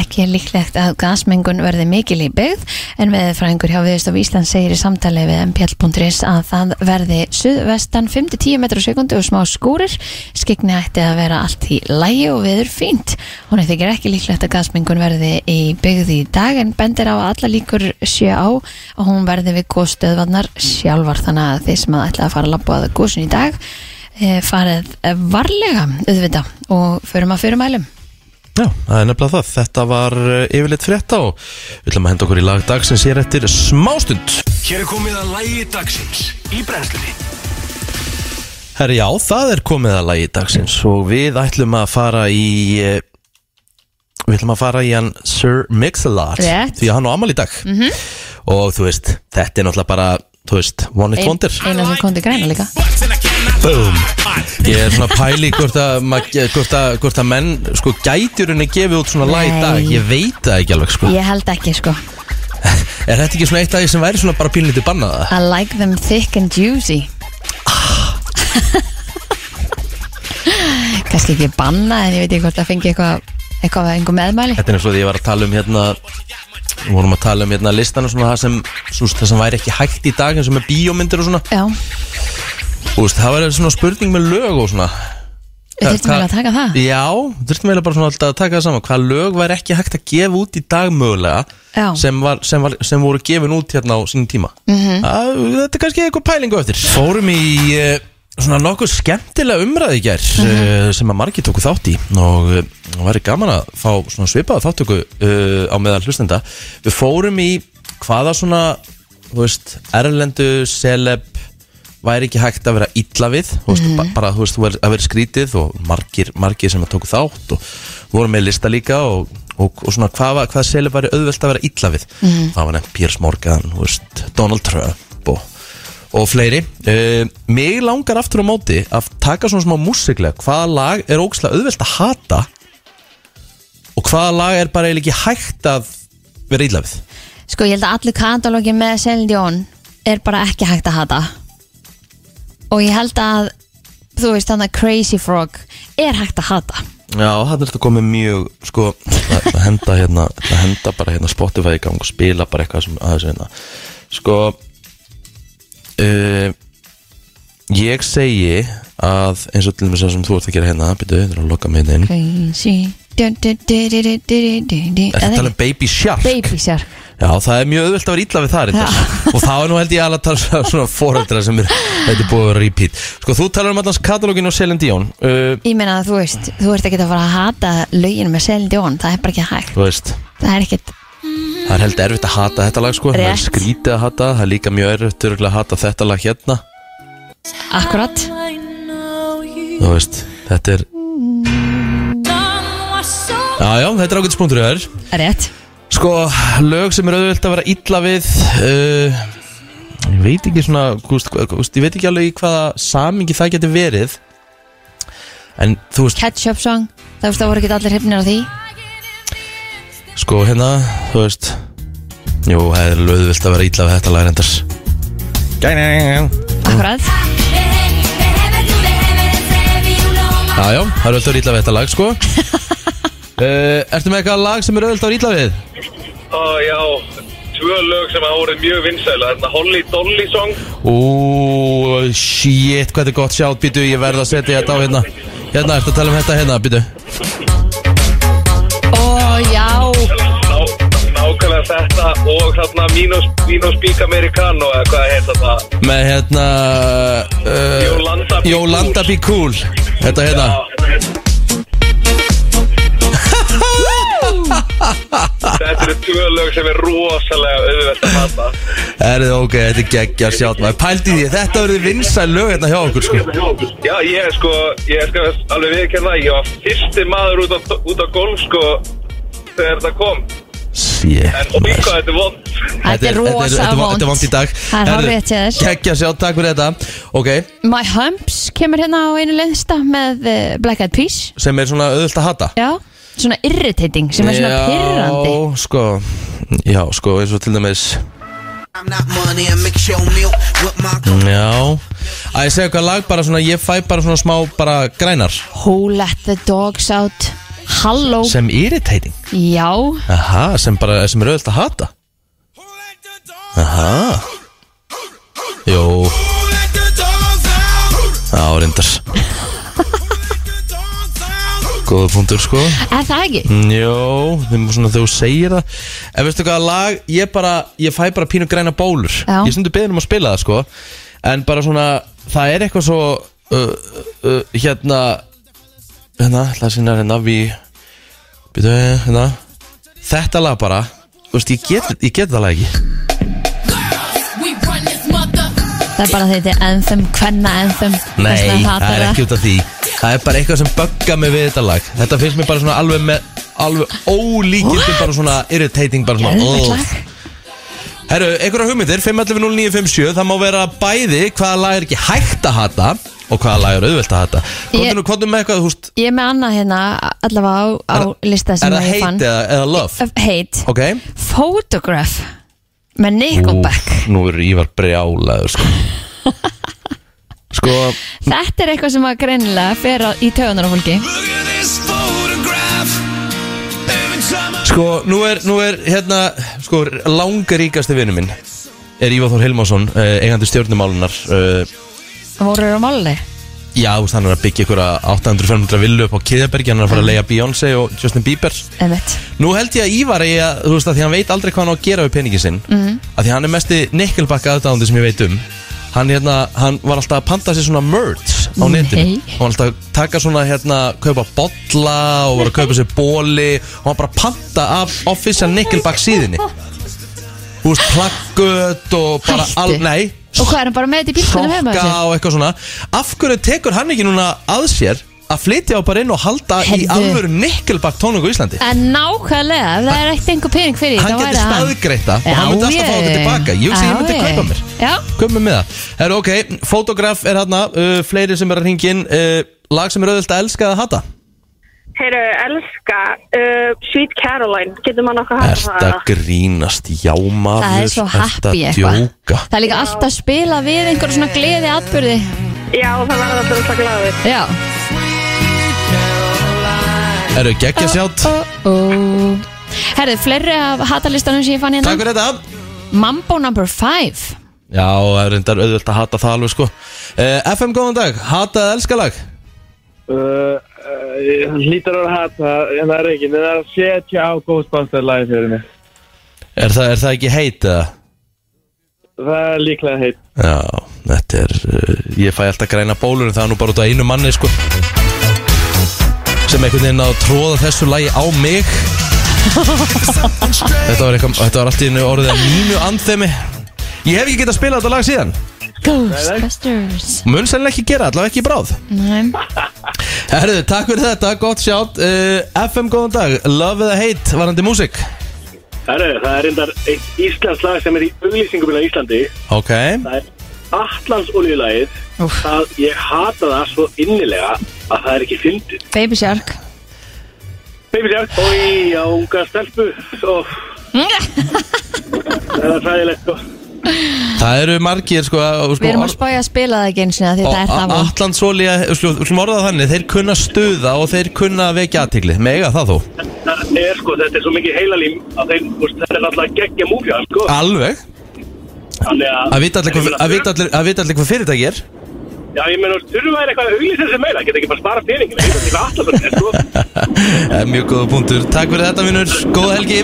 [SPEAKER 3] Ekki er líklegt að gasmengun verði mikil í byggð en veðfræðingur hjá Viðstof Ísland segir í samtali við mpl.is að það verði suðvestan 5-10 metrar sekundu og smá skúrir. Skigni ætti að vera allt í lægi og veður fínt. Hún er þykir ekki líklegt að gasmengun verði í byggð í dag en bendir á að alla líkur sjö á að hún verði við góðstöðvarnar sjálfar þannig að þeir sem að ætla að fara að labba að góðsun í dag eh, farið eh, varlega auðvita og förum að fyrirmælum
[SPEAKER 2] Já, það er nefnilega það, þetta var eh, yfirleitt frétta og við ætlum að henda okkur í lag dagsins hér eftir smástund
[SPEAKER 1] Hér er komið að lægi dagsins í brennslunni
[SPEAKER 2] Herri, já, það er komið að lagi dagsins og við ætlum að fara í eh, við ætlum að fara í hann Sir Mix-a-Lot
[SPEAKER 3] Rétt. Mhm.
[SPEAKER 2] því að hann á amal í dag -hmm. og þú veist, þetta er náttúrulega bara þú veist, one hit
[SPEAKER 3] Ein-
[SPEAKER 2] wonder
[SPEAKER 3] eina sem kom til græna líka
[SPEAKER 2] Boom. Ég er svona að pæli hvort að, ma- hvort að, hvort að menn sko gætjurinn er gefið út svona lag í
[SPEAKER 3] Nei.
[SPEAKER 2] dag ég veit það ekki alveg sko
[SPEAKER 3] ég held ekki sko
[SPEAKER 2] er þetta ekki svona eitt dag sem væri svona bara pínlítið bannaða?
[SPEAKER 3] I like them thick and juicy kannski ekki banna en ég veit ekki hvort það fengi eitthvað eitthvað að einhver meðmæli
[SPEAKER 2] Þetta er eins og því ég var að tala um hérna við vorum að tala um hérna listanum svona það sem, svo, það sem væri ekki hægt í dag eins og með bíómyndir og svona
[SPEAKER 3] já,
[SPEAKER 2] Þú veist, það væri svona spurning með lög og svona
[SPEAKER 3] við þurftum
[SPEAKER 2] Hva-
[SPEAKER 3] eiginlega að taka það
[SPEAKER 2] Já, við þurftum eiginlega bara svona alltaf að taka það saman Hvaða lög væri ekki hægt að gefa út í dag mögulega
[SPEAKER 3] Já.
[SPEAKER 2] sem, var, sem, var, sem voru gefin út hérna á sínum tíma mm
[SPEAKER 3] Mhm.
[SPEAKER 2] -hmm. Þetta er kannski eitthvað pælingu eftir Fórum í eh, svona nokkuð skemmtilega umræði í gær
[SPEAKER 3] Mhm.
[SPEAKER 2] eh, sem að margir tóku þátt í og eh, það væri gaman að fá svona svipaða þáttöku uh, á meðal hlustenda Við fórum í hvaða svona þú veist, erlendu, celeb væri ekki hægt að vera illa við þú veist, ba bara þú veist, þú er, að vera skrítið og margir, margir sem að tóku þátt og voru með lista líka og, og, og svona hvað, var- hvað selið væri auðvelt að vera illa við það var nefnt Piers Morgan, þú veist, Donald Trump og, og fleiri uh, mig langar aftur á móti að taka svona smá músiklega hvaða lag er ógæslega auðvelt að hata og hvaða lag er bara eiginlega ekki hægt að vera illa við
[SPEAKER 3] sko ég held að allir katalógin með Celine Dion er bara ekki hægt að hata og ég held að þú veist þannig að Crazy Frog er hægt að hata
[SPEAKER 2] Já, það er þetta komið mjög sko, að að henda hérna að henda bara hérna Spotify í gang og spila bara eitthvað sem aðeins hérna sko uh, ég segi að eins og til þess að sem þú ert að gera hérna byrju, þetta er að loka mig hérna inn
[SPEAKER 3] Crazy Dun, dun, dun, dun, dun, dun, dun, dun.
[SPEAKER 2] Er þetta
[SPEAKER 3] Eða
[SPEAKER 2] talað um
[SPEAKER 3] ekki?
[SPEAKER 2] Baby Shark?
[SPEAKER 3] Baby Shark
[SPEAKER 2] Já, það er mjög auðvelt að vera illa við það reyndar Og þá er nú held ég alveg að tala um svona foreldra sem er, þetta er búið að vera repeat Sko, þú talar um allans katalógin og Celine Dion uh,
[SPEAKER 3] Ég meina að þú veist, þú ert ekki að fara að hata lögin með Celine Dion, það er bara ekki hægt
[SPEAKER 2] Þú veist,
[SPEAKER 3] Það er ekkit,
[SPEAKER 2] Það er held erfitt að hata þetta lag sko Það er
[SPEAKER 3] Rétt.
[SPEAKER 2] skrítið að hata, það það er líka mjög erfitt örugglega að hata þetta lag hérna
[SPEAKER 3] akkurat
[SPEAKER 2] Þú veist, þetta er Já, já, þetta er ágætis punktur í þær
[SPEAKER 3] Rétt
[SPEAKER 2] Sko, lög sem er auðvöld að vera illa við uh, Ég veit ekki svona, gúst, gúst, ég veit ekki alveg í hvaða samingi það getur verið En þú veist,
[SPEAKER 3] Ketchup song, það veist það voru ekki allir hrifnir á því
[SPEAKER 2] sko hérna, þú veist Jú, það er alveg auðvöld að vera illa við þetta lag reyndars
[SPEAKER 3] Akkurat
[SPEAKER 2] Já, já, það er auðvöld að vera illa við þetta lag sko uh, Ertu með eitthvað lag sem er auðvöld að vera illa við?
[SPEAKER 5] Ó, já, tvö lög sem hafa voruð mjög vinsæla, þarna Holly Dolly song
[SPEAKER 2] Ó, shit, hvað þetta er gott sjátt, býtu, ég verð að setja þetta á hérna Hérna, ertu að tala um þetta hérna, býtu
[SPEAKER 3] Ó já,
[SPEAKER 5] Ná, nákvæmlega þetta og þarna Minos, Minos Big Americano eða hvað heit þetta
[SPEAKER 2] Með hérna uh,
[SPEAKER 5] Yolanda Be
[SPEAKER 2] Jólanda Be Cool Þetta hérna
[SPEAKER 5] Þetta eru tvö lög sem er rosalega auðvelt að hata
[SPEAKER 2] Erðu, ok, þetta er geggja sjátt maður Pældi í því, þetta verður vinsæl lög hérna hjá okkur, sko
[SPEAKER 5] Já, ég er sko, ég skal alveg viðkjörna Ég var fyrsti maður út á, út á golf sko þegar þetta kom
[SPEAKER 2] Sér
[SPEAKER 5] En oi hvað þetta er vond
[SPEAKER 3] Þetta er rosa vond
[SPEAKER 2] Þetta er vond í dag
[SPEAKER 3] Það er hárrétt hjá þér.
[SPEAKER 2] Kekja sjá, takk fyrir þetta Ok,
[SPEAKER 3] My Humps kemur hérna á einu lista með eh, Black Eyed Peas
[SPEAKER 2] sem er svona auðvöld að hata
[SPEAKER 3] Já, svona irritating sem er svona pyrrandi
[SPEAKER 2] Já, sko Já, sko, eins og til dæmis
[SPEAKER 6] I'm not money, I make your meal with my
[SPEAKER 2] Já Að ég segja eitthvað lag bara svona Ég fæ bara svona smá bara grænar
[SPEAKER 3] Who let the dogs out Halló,
[SPEAKER 2] Sem irritating
[SPEAKER 3] já
[SPEAKER 2] Aha, sem bara, sem er auðvöld að hata Aha Jó Já, reyndar Góða punktur, sko
[SPEAKER 3] Er það ekki?
[SPEAKER 2] Jó, þeim svona þegar þú segir það En veistu hvað lag, ég bara Ég fæ bara pínu græna bólur
[SPEAKER 3] Já.
[SPEAKER 2] Ég stundu beðin um að spila það sko En bara svona, það er eitthvað svo uh, uh, Hérna Hérna, ætla að sinna hérna Við Býtu, hérna Þetta lag bara, þú veist, ég get, ég get það lag ekki
[SPEAKER 3] Það er bara þetta er anthem, hvenna anthem þess
[SPEAKER 2] Nei,
[SPEAKER 3] vegna
[SPEAKER 2] það
[SPEAKER 3] hatar
[SPEAKER 2] er ekki um út af því Það er bara eitthvað sem bögga mig við þetta lag Þetta finnst mér bara svona alveg með Alveg ólíkildum bara svona irritating bara svona
[SPEAKER 3] Geðveikt
[SPEAKER 2] ugh.
[SPEAKER 3] lag.
[SPEAKER 2] Herru, einhverja hugmyndir 5.11.09.57 Það má vera bæði hvaða lag er ekki hægt að hata Og hvaða lag er auðvelt að hata Hvort
[SPEAKER 3] Ég-
[SPEAKER 2] er nú hvort er með eitthvað, húst
[SPEAKER 3] Ég er með annað hérna allavega á, á lista sem
[SPEAKER 2] Er það
[SPEAKER 3] ég fann
[SPEAKER 2] hate eða, eða love?
[SPEAKER 3] Hate
[SPEAKER 2] Ok
[SPEAKER 3] Photograph með Nickelback
[SPEAKER 2] Úff, Nú er Ívar brjálaður sko Sko
[SPEAKER 3] Þetta er eitthvað sem að greinilega fer á- í tögunar á fólki
[SPEAKER 2] Sko, nú er, nú er hérna, sko, langaríkasti vinnu minn er Ívar Þór Hilmarsson, uh, eigandi stjórnumálunar uh,
[SPEAKER 3] Voru eru á máli
[SPEAKER 2] Já, þú veist, hann er að byggja ykkur 800-500 villu upp á Kiðabergi hann er að fara að leiða Beyoncé og Justin Bieber
[SPEAKER 3] Einmitt.
[SPEAKER 2] Nú held ég að Ívar eigi að, þú veist, að því hann veit aldrei hvað hann á að gera við peningin sinn
[SPEAKER 3] Mhm.
[SPEAKER 2] mm. að því hann er mesti nikkelbakka aðdáðandi sem ég veit um Hann, hérna, hann var alltaf að panta sér svona merch á netinu
[SPEAKER 3] Nei.
[SPEAKER 2] og hann var alltaf að taka svona hérna kaupa bolla og var að kaupa sér bóli og hann bara að panta af official Nickelback síðinni Þú veist, plaggöt og bara
[SPEAKER 3] Hættu.
[SPEAKER 2] nei,
[SPEAKER 3] Og hvað er hann bara með þetta í bílkunum heima
[SPEAKER 2] sokka
[SPEAKER 3] þessi?
[SPEAKER 2] og eitthvað svona Af hverju tekur hann ekki núna að sér að flytja á bara inn og halda í
[SPEAKER 3] Heyrðu.
[SPEAKER 2] alvöru Nickelback tónungu í Íslandi
[SPEAKER 3] En nákvæmlega, ef það er ekkert einhver pening fyrir því,
[SPEAKER 2] Hann
[SPEAKER 3] þá væri
[SPEAKER 2] getur staðgreitt það og hann myndi alltaf fá þetta
[SPEAKER 3] ég-
[SPEAKER 2] tilbaka Ég hugsa
[SPEAKER 3] Já,
[SPEAKER 2] ég myndi
[SPEAKER 3] ég-
[SPEAKER 2] kaupa mér
[SPEAKER 3] Já,
[SPEAKER 2] Kaupa mér með það Herru, ok, fotograf er hann uh, Fleiri sem er að ringja inn uh, Lag sem er auðvitað að elska eða hata
[SPEAKER 7] Heyru, elska uh, Sweet Caroline, getur maður nokkuð hafa
[SPEAKER 2] Ertu að grínast, já maður
[SPEAKER 3] það er svo
[SPEAKER 2] ertu
[SPEAKER 3] happy
[SPEAKER 2] að
[SPEAKER 3] eitthvað
[SPEAKER 2] djóka?
[SPEAKER 3] Það er líka alltaf að spila við einhver svona gleði atbyrði
[SPEAKER 7] Já, það verður alltaf alltaf glæður
[SPEAKER 3] Já
[SPEAKER 2] Herru, geggja sjátt
[SPEAKER 3] Ó. Herðu, fleiri af hatalistanum sem ég fann
[SPEAKER 2] Takk
[SPEAKER 3] hérna
[SPEAKER 2] fyrir þetta
[SPEAKER 3] Mambo number 5
[SPEAKER 2] Já, það er reyndar auðvitað að hata það alveg sko uh, FM, góðan dag, hata eða elska lag
[SPEAKER 5] Eh, Lítur að hata, en það er ekki En það er að setja á Ghostbusters lagi fyrir mig
[SPEAKER 2] Er það, er það ekki heit eða?
[SPEAKER 5] Það er líklega heitt
[SPEAKER 2] Já, þetta er uh, Ég fæ alltaf græna bólur en það er nú bara út af einu manni sko sem einhvern veginn á að tróða þessu lagi á mig Þetta var, eitthvað, þetta var allt í einu orðið að mínu andþemi Ég hef ekki getað að spila þetta lag síðan
[SPEAKER 3] Ghostbusters
[SPEAKER 2] Mun sennilega ekki gera, allavega ekki í bráð
[SPEAKER 3] Nei.
[SPEAKER 2] Herðu, takk fyrir þetta, gott sjátt uh, FM, góðan dag, love eða hate varandi músík
[SPEAKER 5] Herru, það er reyndar eitt íslensk lag sem er í auglýsingum í Íslandi
[SPEAKER 2] Ok,
[SPEAKER 5] Það er Atlans olíulagið
[SPEAKER 3] Úff.
[SPEAKER 5] Það, ég hata það svo innilega að það er ekki fyndið
[SPEAKER 3] Baby Shark
[SPEAKER 5] Baby Jack, oi, á unga stelpu og það er sko. fræðilegt og
[SPEAKER 2] það eru margir sko, sko
[SPEAKER 3] Við erum
[SPEAKER 2] orð-
[SPEAKER 3] að spája að spila það ekki eins og því það er það vond
[SPEAKER 2] Allandsólja, við slum við skulum orða það þannig, þeir kunna stuða og þeir kunna vekja aðtigli, mega það þó
[SPEAKER 5] það er sko, þetta er svo mikið heilalím að þeim, þú veist, þetta er náttúrulega geggja múfja, sko
[SPEAKER 2] Alveg,
[SPEAKER 5] Þannig að
[SPEAKER 2] að vita allir hvað- að vita allir- að vita allir hvað fyrirtæki er
[SPEAKER 5] Já, ég meina, þú veist, þurfa er eitthvað að auglýsa þessi meira, geta ekki bara spara peningin, það er eitthvað alltaf þetta, sko
[SPEAKER 2] Það er Eh, Mjög góða punktur, takk fyrir þetta vinnur, góða helgi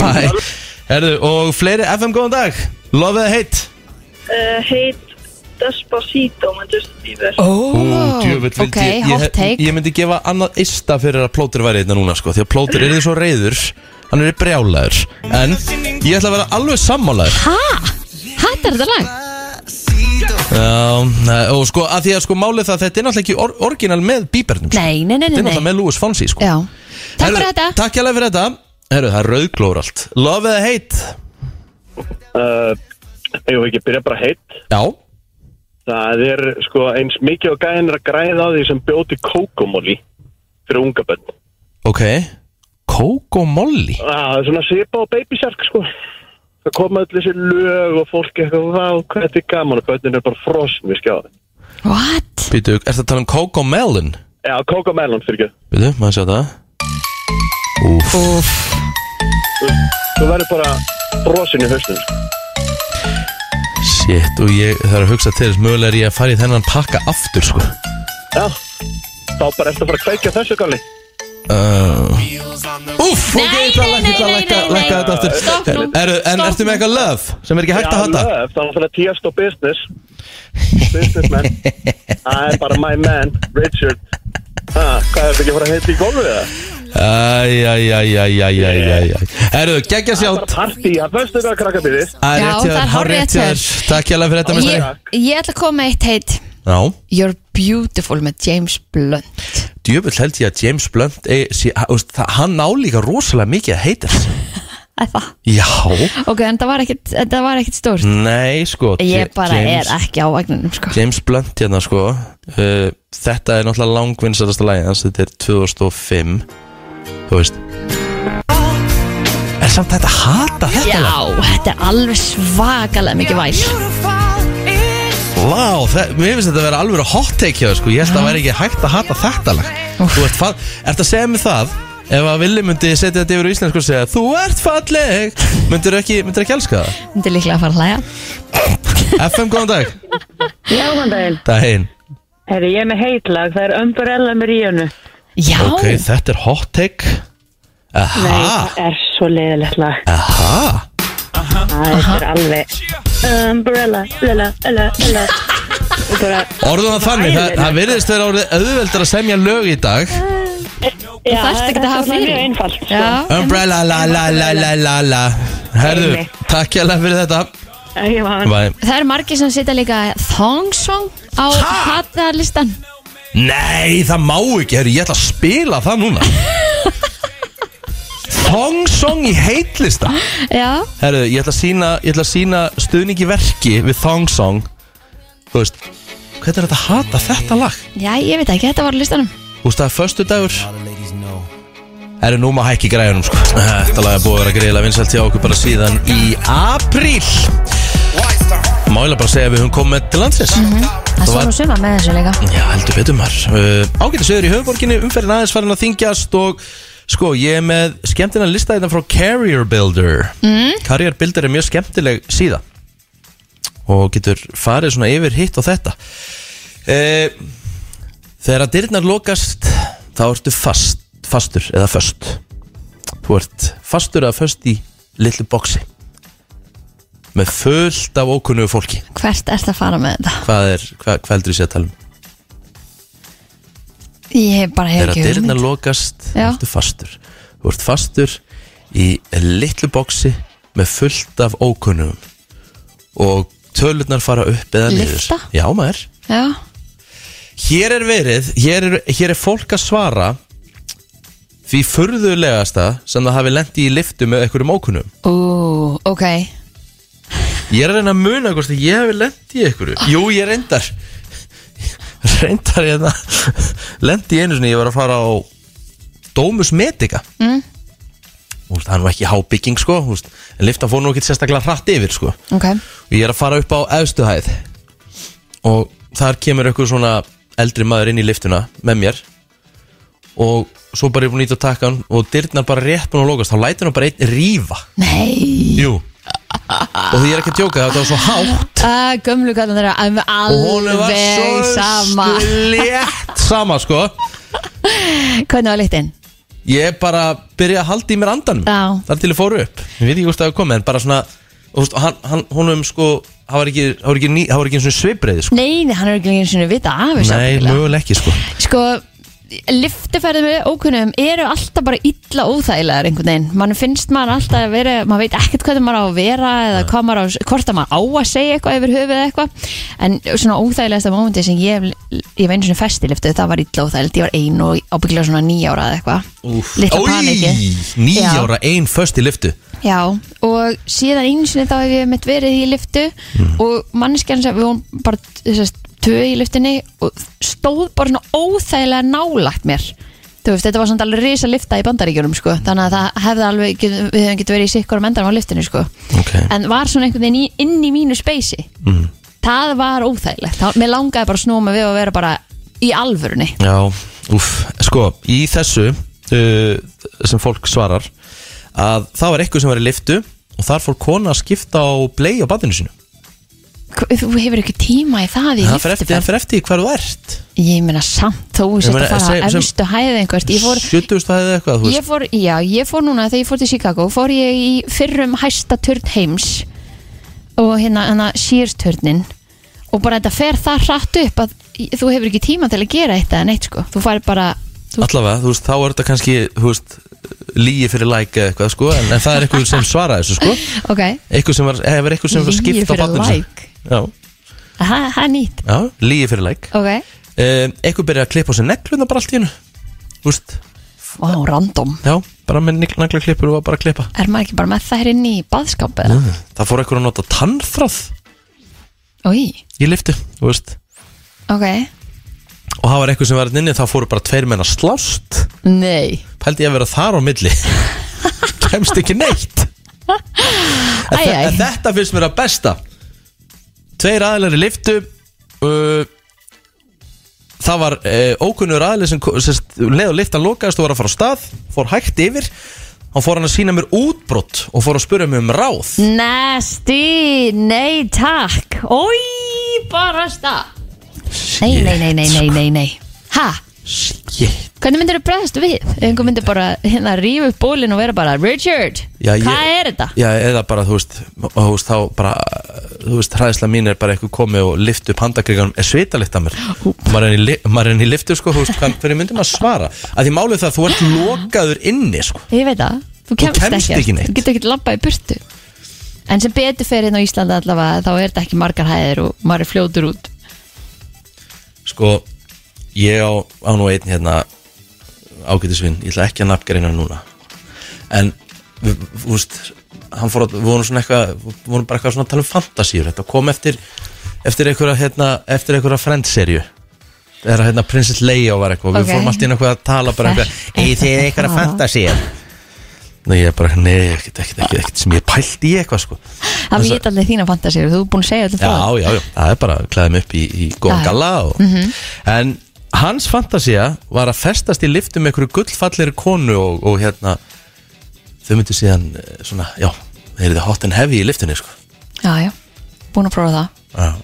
[SPEAKER 2] Bæ, herðu, og fleiri FM góðan dag, lofið að heitt
[SPEAKER 7] uh, Heit Despacito með Justin Bieber
[SPEAKER 2] djöfull, vildi
[SPEAKER 3] Ok,
[SPEAKER 2] ég-
[SPEAKER 3] hot
[SPEAKER 2] ég-
[SPEAKER 3] take
[SPEAKER 2] Ég myndi gefa annað ysta fyrir að plótur væri hérna núna sko Því að plótur er því svo reyður Hann er brjálaður En ég ætla að vera alveg sammálaður
[SPEAKER 3] Hæ? Hattar þetta lag?
[SPEAKER 2] Já, nei, og sko að því að sko málið það Þetta er náttúrulega ekki or orginal með bíbernum sko.
[SPEAKER 3] Nei, nei,
[SPEAKER 2] Þetta
[SPEAKER 3] nei,
[SPEAKER 2] er
[SPEAKER 3] nei,
[SPEAKER 2] náttúrulega
[SPEAKER 3] nei.
[SPEAKER 2] með Louis Fonsi sko
[SPEAKER 3] Já Takk fyrir
[SPEAKER 2] Herðu,
[SPEAKER 3] þetta
[SPEAKER 2] Takk hérlega fyrir þetta Herru, það er rauðglóður allt Love eða hate?
[SPEAKER 8] uh, Ég vil ekki byrja bara heitt
[SPEAKER 2] Já
[SPEAKER 8] Það er sko eins mikið og gæðin er að græða á því sem bjóti kókumóli fyrir unga bönn
[SPEAKER 2] Ok Coco Molly
[SPEAKER 8] Ah, Það er svona svipa og baby shark sko Það koma öll þessi lög og fólk eitthvað Vá, hvað þetta er gaman og bönnin er bara frosn við skjáðin
[SPEAKER 3] What?
[SPEAKER 2] Býtu, er þetta að tala um Coco Melon?
[SPEAKER 8] Já, kókumælun fyrir ekki
[SPEAKER 2] Býtu, maður sjá það Úf
[SPEAKER 3] Úf,
[SPEAKER 8] Þú verður bara frosin í hausnum sko.
[SPEAKER 2] Shit, og ég þarf að hugsa til þess Mögulega er ég að fara í þennan pakka aftur, sko
[SPEAKER 8] Já, þá bara ertu að fara að kveikja þessu gali
[SPEAKER 2] uh, Úf, ok,
[SPEAKER 3] Nei,
[SPEAKER 2] ég ætla að lækka,
[SPEAKER 3] nei, nei,
[SPEAKER 2] lækka,
[SPEAKER 3] nei, nei,
[SPEAKER 2] lækka
[SPEAKER 3] nei.
[SPEAKER 2] þetta aftur
[SPEAKER 3] Stopp nú,
[SPEAKER 2] Eru- En
[SPEAKER 3] stopp
[SPEAKER 2] ertu
[SPEAKER 3] nú.
[SPEAKER 2] með eitthvað love sem er ekki hægt að hata?
[SPEAKER 8] löf, þannig að það er tíast og business Businessman Það er bara my man, Richard ha, Hvað er þetta ekki að fara að heita í golfið það?
[SPEAKER 2] Æjæjæjæjæjæjæjæjæjæ Herru, geggja
[SPEAKER 8] Bara
[SPEAKER 2] sjátt
[SPEAKER 8] partí, að föstu það krakkabíði
[SPEAKER 2] Það er
[SPEAKER 3] Já,
[SPEAKER 2] rétt hjá þér,
[SPEAKER 3] það er
[SPEAKER 2] hár rétt hjá
[SPEAKER 3] hárrétt
[SPEAKER 2] þér Takk hérlega fyrir þetta,
[SPEAKER 3] ég,
[SPEAKER 2] mestari
[SPEAKER 3] ég ætla að koma með eitt heit
[SPEAKER 2] Já
[SPEAKER 3] You're beautiful með James Blunt
[SPEAKER 2] djöfull held ég að James Blunt e, sí, ha, úst, það, hann ná líka rosalega mikið að heita
[SPEAKER 3] Æfa.
[SPEAKER 2] já,
[SPEAKER 3] Ok, en það var ekkit, þetta var ekkit stórt
[SPEAKER 2] nei sko Ja-
[SPEAKER 3] Ég bara
[SPEAKER 2] James,
[SPEAKER 3] er ekki á vagninum sko.
[SPEAKER 2] James Blunt hérna sko uh, þetta er náttúrulega langvinnsarast að lægi hans þetta er 2005 þú veist er samt þetta hata þetta
[SPEAKER 3] Já,
[SPEAKER 2] lag?
[SPEAKER 3] þetta er alveg svakalega mikið væl
[SPEAKER 2] Vá, það, mér finnst þetta að vera alveg hot take hjá þér, sko, ég held að það væri ekki hægt að hata þetta lag Þú ert fall, ert að segja mig það Ef að Willi myndi setja þetta yfir á íslensku og segja Þú ert falleg Myndir ekki, myndir ekki elska það?
[SPEAKER 3] Þetta er líklega að fara að hlæja
[SPEAKER 2] FM, góðan dag
[SPEAKER 9] Já, hann daginn.
[SPEAKER 2] Daginn
[SPEAKER 9] Herri, ég er með heitlag, það er Umbrella með Ríunu.
[SPEAKER 3] Já,
[SPEAKER 2] Ok, þetta er hot take
[SPEAKER 9] Nei,
[SPEAKER 2] Aha,
[SPEAKER 9] það er svo leiðilegt lag.
[SPEAKER 2] aha
[SPEAKER 9] Það er alveg Umbrella, lala, lala, lala. Og bara,
[SPEAKER 2] Orðum það þannig, það, það virðist vera orðið auðveldar að semja lög í dag
[SPEAKER 9] já,
[SPEAKER 3] þarft ekki að hafa
[SPEAKER 9] Það er
[SPEAKER 3] fyrir.
[SPEAKER 9] mjög einfalt. sko.
[SPEAKER 3] Já,
[SPEAKER 2] Umbrella la la la la la la Herðu,
[SPEAKER 9] Einmitt.
[SPEAKER 2] takk hérlega fyrir þetta
[SPEAKER 9] Ég var hann.
[SPEAKER 2] Bye.
[SPEAKER 3] það eru margir sem setja líka Thongsong á hattalistan
[SPEAKER 2] Nei, það má ekki, herru, ég ætla að spila það núna Thongsong í heitlista
[SPEAKER 3] Já,
[SPEAKER 2] Herru, ég ætla að sína, ég ætla að sína stuðningi verki við Thongsong Þú veist, hvernig er þetta að hata þetta lag?
[SPEAKER 3] já, ég veit ekki, þetta var á listanum
[SPEAKER 2] Þú veist það er förstu dagur Herru, nú maður hækki græjunum sko Þetta lag er búið að vera greiðilega vinsælt hjá okkur bara síðan í apríl Mála bara segja að við höfum komið til landsins
[SPEAKER 3] Það
[SPEAKER 2] Það
[SPEAKER 3] svo
[SPEAKER 2] var-
[SPEAKER 3] nú suma með þessu líka
[SPEAKER 2] Já, heldur betur maður uh, Ágættu sögur í höfuborginni, umferðin aðeins farin að þingjast og sko, ég er með skemmtina lista þetta frá Carrier Builder mm. Carrier Builder er mjög skemmtileg síða og getur farið svona yfir hitt og þetta uh, Þegar að dyrnar lokast þá ertu fast, fastur eða föst Þú ert fastur eða föst í litlu boksi með fullt af ókunnugu fólki
[SPEAKER 3] Hvert ert að fara með þetta?
[SPEAKER 2] Hvað er, hvað, hvað heldur þú sé að tala um?
[SPEAKER 3] Ég bara hef
[SPEAKER 2] Þegar
[SPEAKER 3] ekki
[SPEAKER 2] dyrnar
[SPEAKER 3] hugmynd.
[SPEAKER 2] lokast,
[SPEAKER 3] Já.
[SPEAKER 2] ertu fastur Þú ert fastur í litlu boksi með fullt af ókunnum og tölurnar fara upp eða niður
[SPEAKER 3] Lyfta?
[SPEAKER 2] Já maður
[SPEAKER 3] Já,
[SPEAKER 2] Hér er verið, hér er, hér er fólk að svara því furðulegasta sem það hafi lendi í liftu með einhverjum ókunnum
[SPEAKER 3] ú, ok
[SPEAKER 2] Ég er að reyna að muna hvort að ég hefði lent í einhverju Jú, ég reyndar Reyndar ég það Lent í einu sinni, ég var að fara á Dómus Medica mm. Úst, Það er nú ekki hábygging sko úst, En liftan fór nú ekki sérstaklega hratt yfir sko
[SPEAKER 3] Ok,
[SPEAKER 2] og ég er að fara upp á eðstuhæð og þar kemur einhver svona eldri maður inn í liftuna með mér og svo bara ég er búin ít að taka hann og dyrnar bara rétt búin að lokast þá lætur hann bara einn rífa
[SPEAKER 3] nei
[SPEAKER 2] Jú og því ég er ekki að tjóka þetta var svo hátt
[SPEAKER 3] uh, Gömlu kallan þeirra alveg
[SPEAKER 2] og honum var
[SPEAKER 3] alveg
[SPEAKER 2] svo
[SPEAKER 3] sama
[SPEAKER 2] slétt sama sko
[SPEAKER 3] Hvernig var litin?
[SPEAKER 2] ég bara byrja að halda í mér andanum
[SPEAKER 3] Já.
[SPEAKER 2] þar til ég fóru upp ég veit ekki hvort það hefur komið en bara svona og þú veist, hann, hann, honum sko það var ekki, það var ekki, ný- það var ekki svipreiði sko.
[SPEAKER 3] Nei, nei, hann er ekki einu sinni vita af þessu
[SPEAKER 2] Nei,
[SPEAKER 3] ábyggilega.
[SPEAKER 2] möguleg ekki sko
[SPEAKER 3] Sko, liftiferðið með ókunnum eru alltaf bara illa óþægilegar einhvern veginn. Man finnst maður alltaf að vera, maður veit ekkert hvað maður á að vera eða hvað maður á, hvort að maður á að segja eitthvað yfir höfuð eða eitthvað. En svona óþægilegasta mómenti sem ég, hef- ég var einu svona fest í liftið, það var illa óþægilegt. Ég var ein og ábyggilega svona nýja ára eða eitthvað. Litta panikið.
[SPEAKER 2] Nýja
[SPEAKER 3] Já.
[SPEAKER 2] ára, ein föst í liftu
[SPEAKER 3] Já, og síðan einu sinni þá hef ég mitt verið í liftu
[SPEAKER 2] Mhm.
[SPEAKER 3] og manneskjarn sem við vorum bara þessast tvö í liftinni og stóð bara svona óþægilega nálagt mér Þú veist, þetta var svona alveg risa lifta í bandaríkjunum sko, þannig að það hefði alveg get, við hefum getið verið í sikkur endanum á liftinu sko
[SPEAKER 2] Ok. Mhm.
[SPEAKER 3] en var svona einhvern veginn í, inn í mínu speysi mm. það var óþægilegt, þá, mér langaði bara að snúa mig við að vera bara í alvörunni
[SPEAKER 2] Já, úff, sko, í þessu uh, sem fólk svarar að það var eitthvað sem var í liftu og þar fór kona að skipta á blei á badinu sinu
[SPEAKER 3] Hva- Þú hefur ekki tíma í það í
[SPEAKER 2] Það fer eftir, það
[SPEAKER 3] lyftuferð.
[SPEAKER 2] fer eftir því hvar þú ert
[SPEAKER 3] Ég meina samt, þú
[SPEAKER 2] Ég
[SPEAKER 3] sett
[SPEAKER 2] meina,
[SPEAKER 3] að fara
[SPEAKER 2] segjum
[SPEAKER 3] að
[SPEAKER 2] sem-
[SPEAKER 3] efstu hæði einhvert Ég fór,
[SPEAKER 2] 70 stæðið eitthvað, þú
[SPEAKER 3] ég
[SPEAKER 2] veist
[SPEAKER 3] fór, já, ég fór núna þegar ég fór til Chicago fór ég í fyrrum hæsta turn heims og hérna, hérna Sears-turnin og bara þetta fer það hratt upp að í- þú hefur ekki tíma til að gera eitt eða neitt sko þú fari bara, þú,
[SPEAKER 2] Allavega, þú veist, þá er þetta kannski, þú veist lígi fyrir læk eða eitthvað, sko en, en það er eitthvað sem svaraði þessu, sko
[SPEAKER 3] ok
[SPEAKER 2] eitthvað sem var, hefur eitthvað sem var
[SPEAKER 3] Lygi
[SPEAKER 2] skipta á
[SPEAKER 3] fyrir
[SPEAKER 2] badinu
[SPEAKER 3] læk.
[SPEAKER 2] Já,
[SPEAKER 3] það það er nýtt,
[SPEAKER 2] já, lígi fyrir læk
[SPEAKER 3] ok
[SPEAKER 2] um, Eitthvað byrja að klippa á sér negluna bara allt í hennu Þú veist,
[SPEAKER 3] Vá, random,
[SPEAKER 2] já, bara með nagla klippur og bara að klippa
[SPEAKER 3] er maður ekki bara með það hér inn í baðskap eða?
[SPEAKER 2] Það fór eitthvað að nota tannþráð
[SPEAKER 3] Í,
[SPEAKER 2] í liftu, þú veist
[SPEAKER 3] ok,
[SPEAKER 2] Og það var eitthvað sem var hérna inni, þá fóru bara tveir menn að slást
[SPEAKER 3] nei
[SPEAKER 2] Pældi ég að vera þar á milli Kemst ekki neitt En
[SPEAKER 3] Æ,
[SPEAKER 2] þe-
[SPEAKER 3] æ.
[SPEAKER 2] en Þetta finnst mér að besta Tveir aðilar í liftu uh, Það var uh, ókunnur aðilar sem, ko- sem st- leið og liftan lokaðist og var að fara á stað Fór hægt yfir Hann fór hann að sína mér útbrott og fór að spura mig um ráð
[SPEAKER 3] Nasty, nei takk Ói, bara stað Nei, nei, nei, nei, nei, nei, nei Ha,
[SPEAKER 2] Shit.
[SPEAKER 3] hvernig myndir þú bregðast við? Ef einhver myndir bara hérna rífa upp bólinn og vera bara Richard,
[SPEAKER 2] Já, ég-
[SPEAKER 3] hvað er þetta?
[SPEAKER 2] Já, eða bara, þú veist, og, þú veist þá bara, þú veist, hræðisla mín er bara eitthvað komið og lift upp handakriganum er svitalikt að mér, maður er, í, maður er inn í liftu sko, þú veist, hvað, hverju myndum að svara að því málið er það að þú ert lokaður inni sko,
[SPEAKER 3] Ég veit það, þú kemst,
[SPEAKER 2] kemst
[SPEAKER 3] ekkert.
[SPEAKER 2] ekki neitt.
[SPEAKER 3] Þú getur ekki labbað í burtu En sem betur fer hérna á Íslandi allavega þá er þetta ekki margar hæðir og maður er fljótur út
[SPEAKER 2] sko ég á, á nú einn hérna ágætisvinn, ég ætla ekki að nafngreina hann núna en við- þú veist, hann fór að, við vorum svona eitthvað við vorum bara eitthvað svona að tala um fantasíur þetta kom eftir, eftir einhverja hérna, eftir einhverja frendserju það er að hérna Princess Leia var eitthvað
[SPEAKER 3] Ok.
[SPEAKER 2] við fórum alltaf inn eitthvað að tala bara eitthvað
[SPEAKER 3] Fer-
[SPEAKER 2] eigi þið einhverja fantasíur Nei, ég er bara, nei, ekkert, ekkert, ekkert, ekkert sem ég pælt í eitthvað, sko
[SPEAKER 3] Það vita allir þína fantasíur, þú er búin að segja allir frá
[SPEAKER 2] já, já, já, það er bara að klæða mig upp í, í góðan
[SPEAKER 3] Já. Mhm.
[SPEAKER 2] galla og, en hans fantasia var að festast í liftum með einhverju gullfallir konu og, og hérna þau myndu síðan eh, svona, já þeir eru hot and heavy í liftinni sko.
[SPEAKER 3] Já, já, búin að prófa það
[SPEAKER 2] já.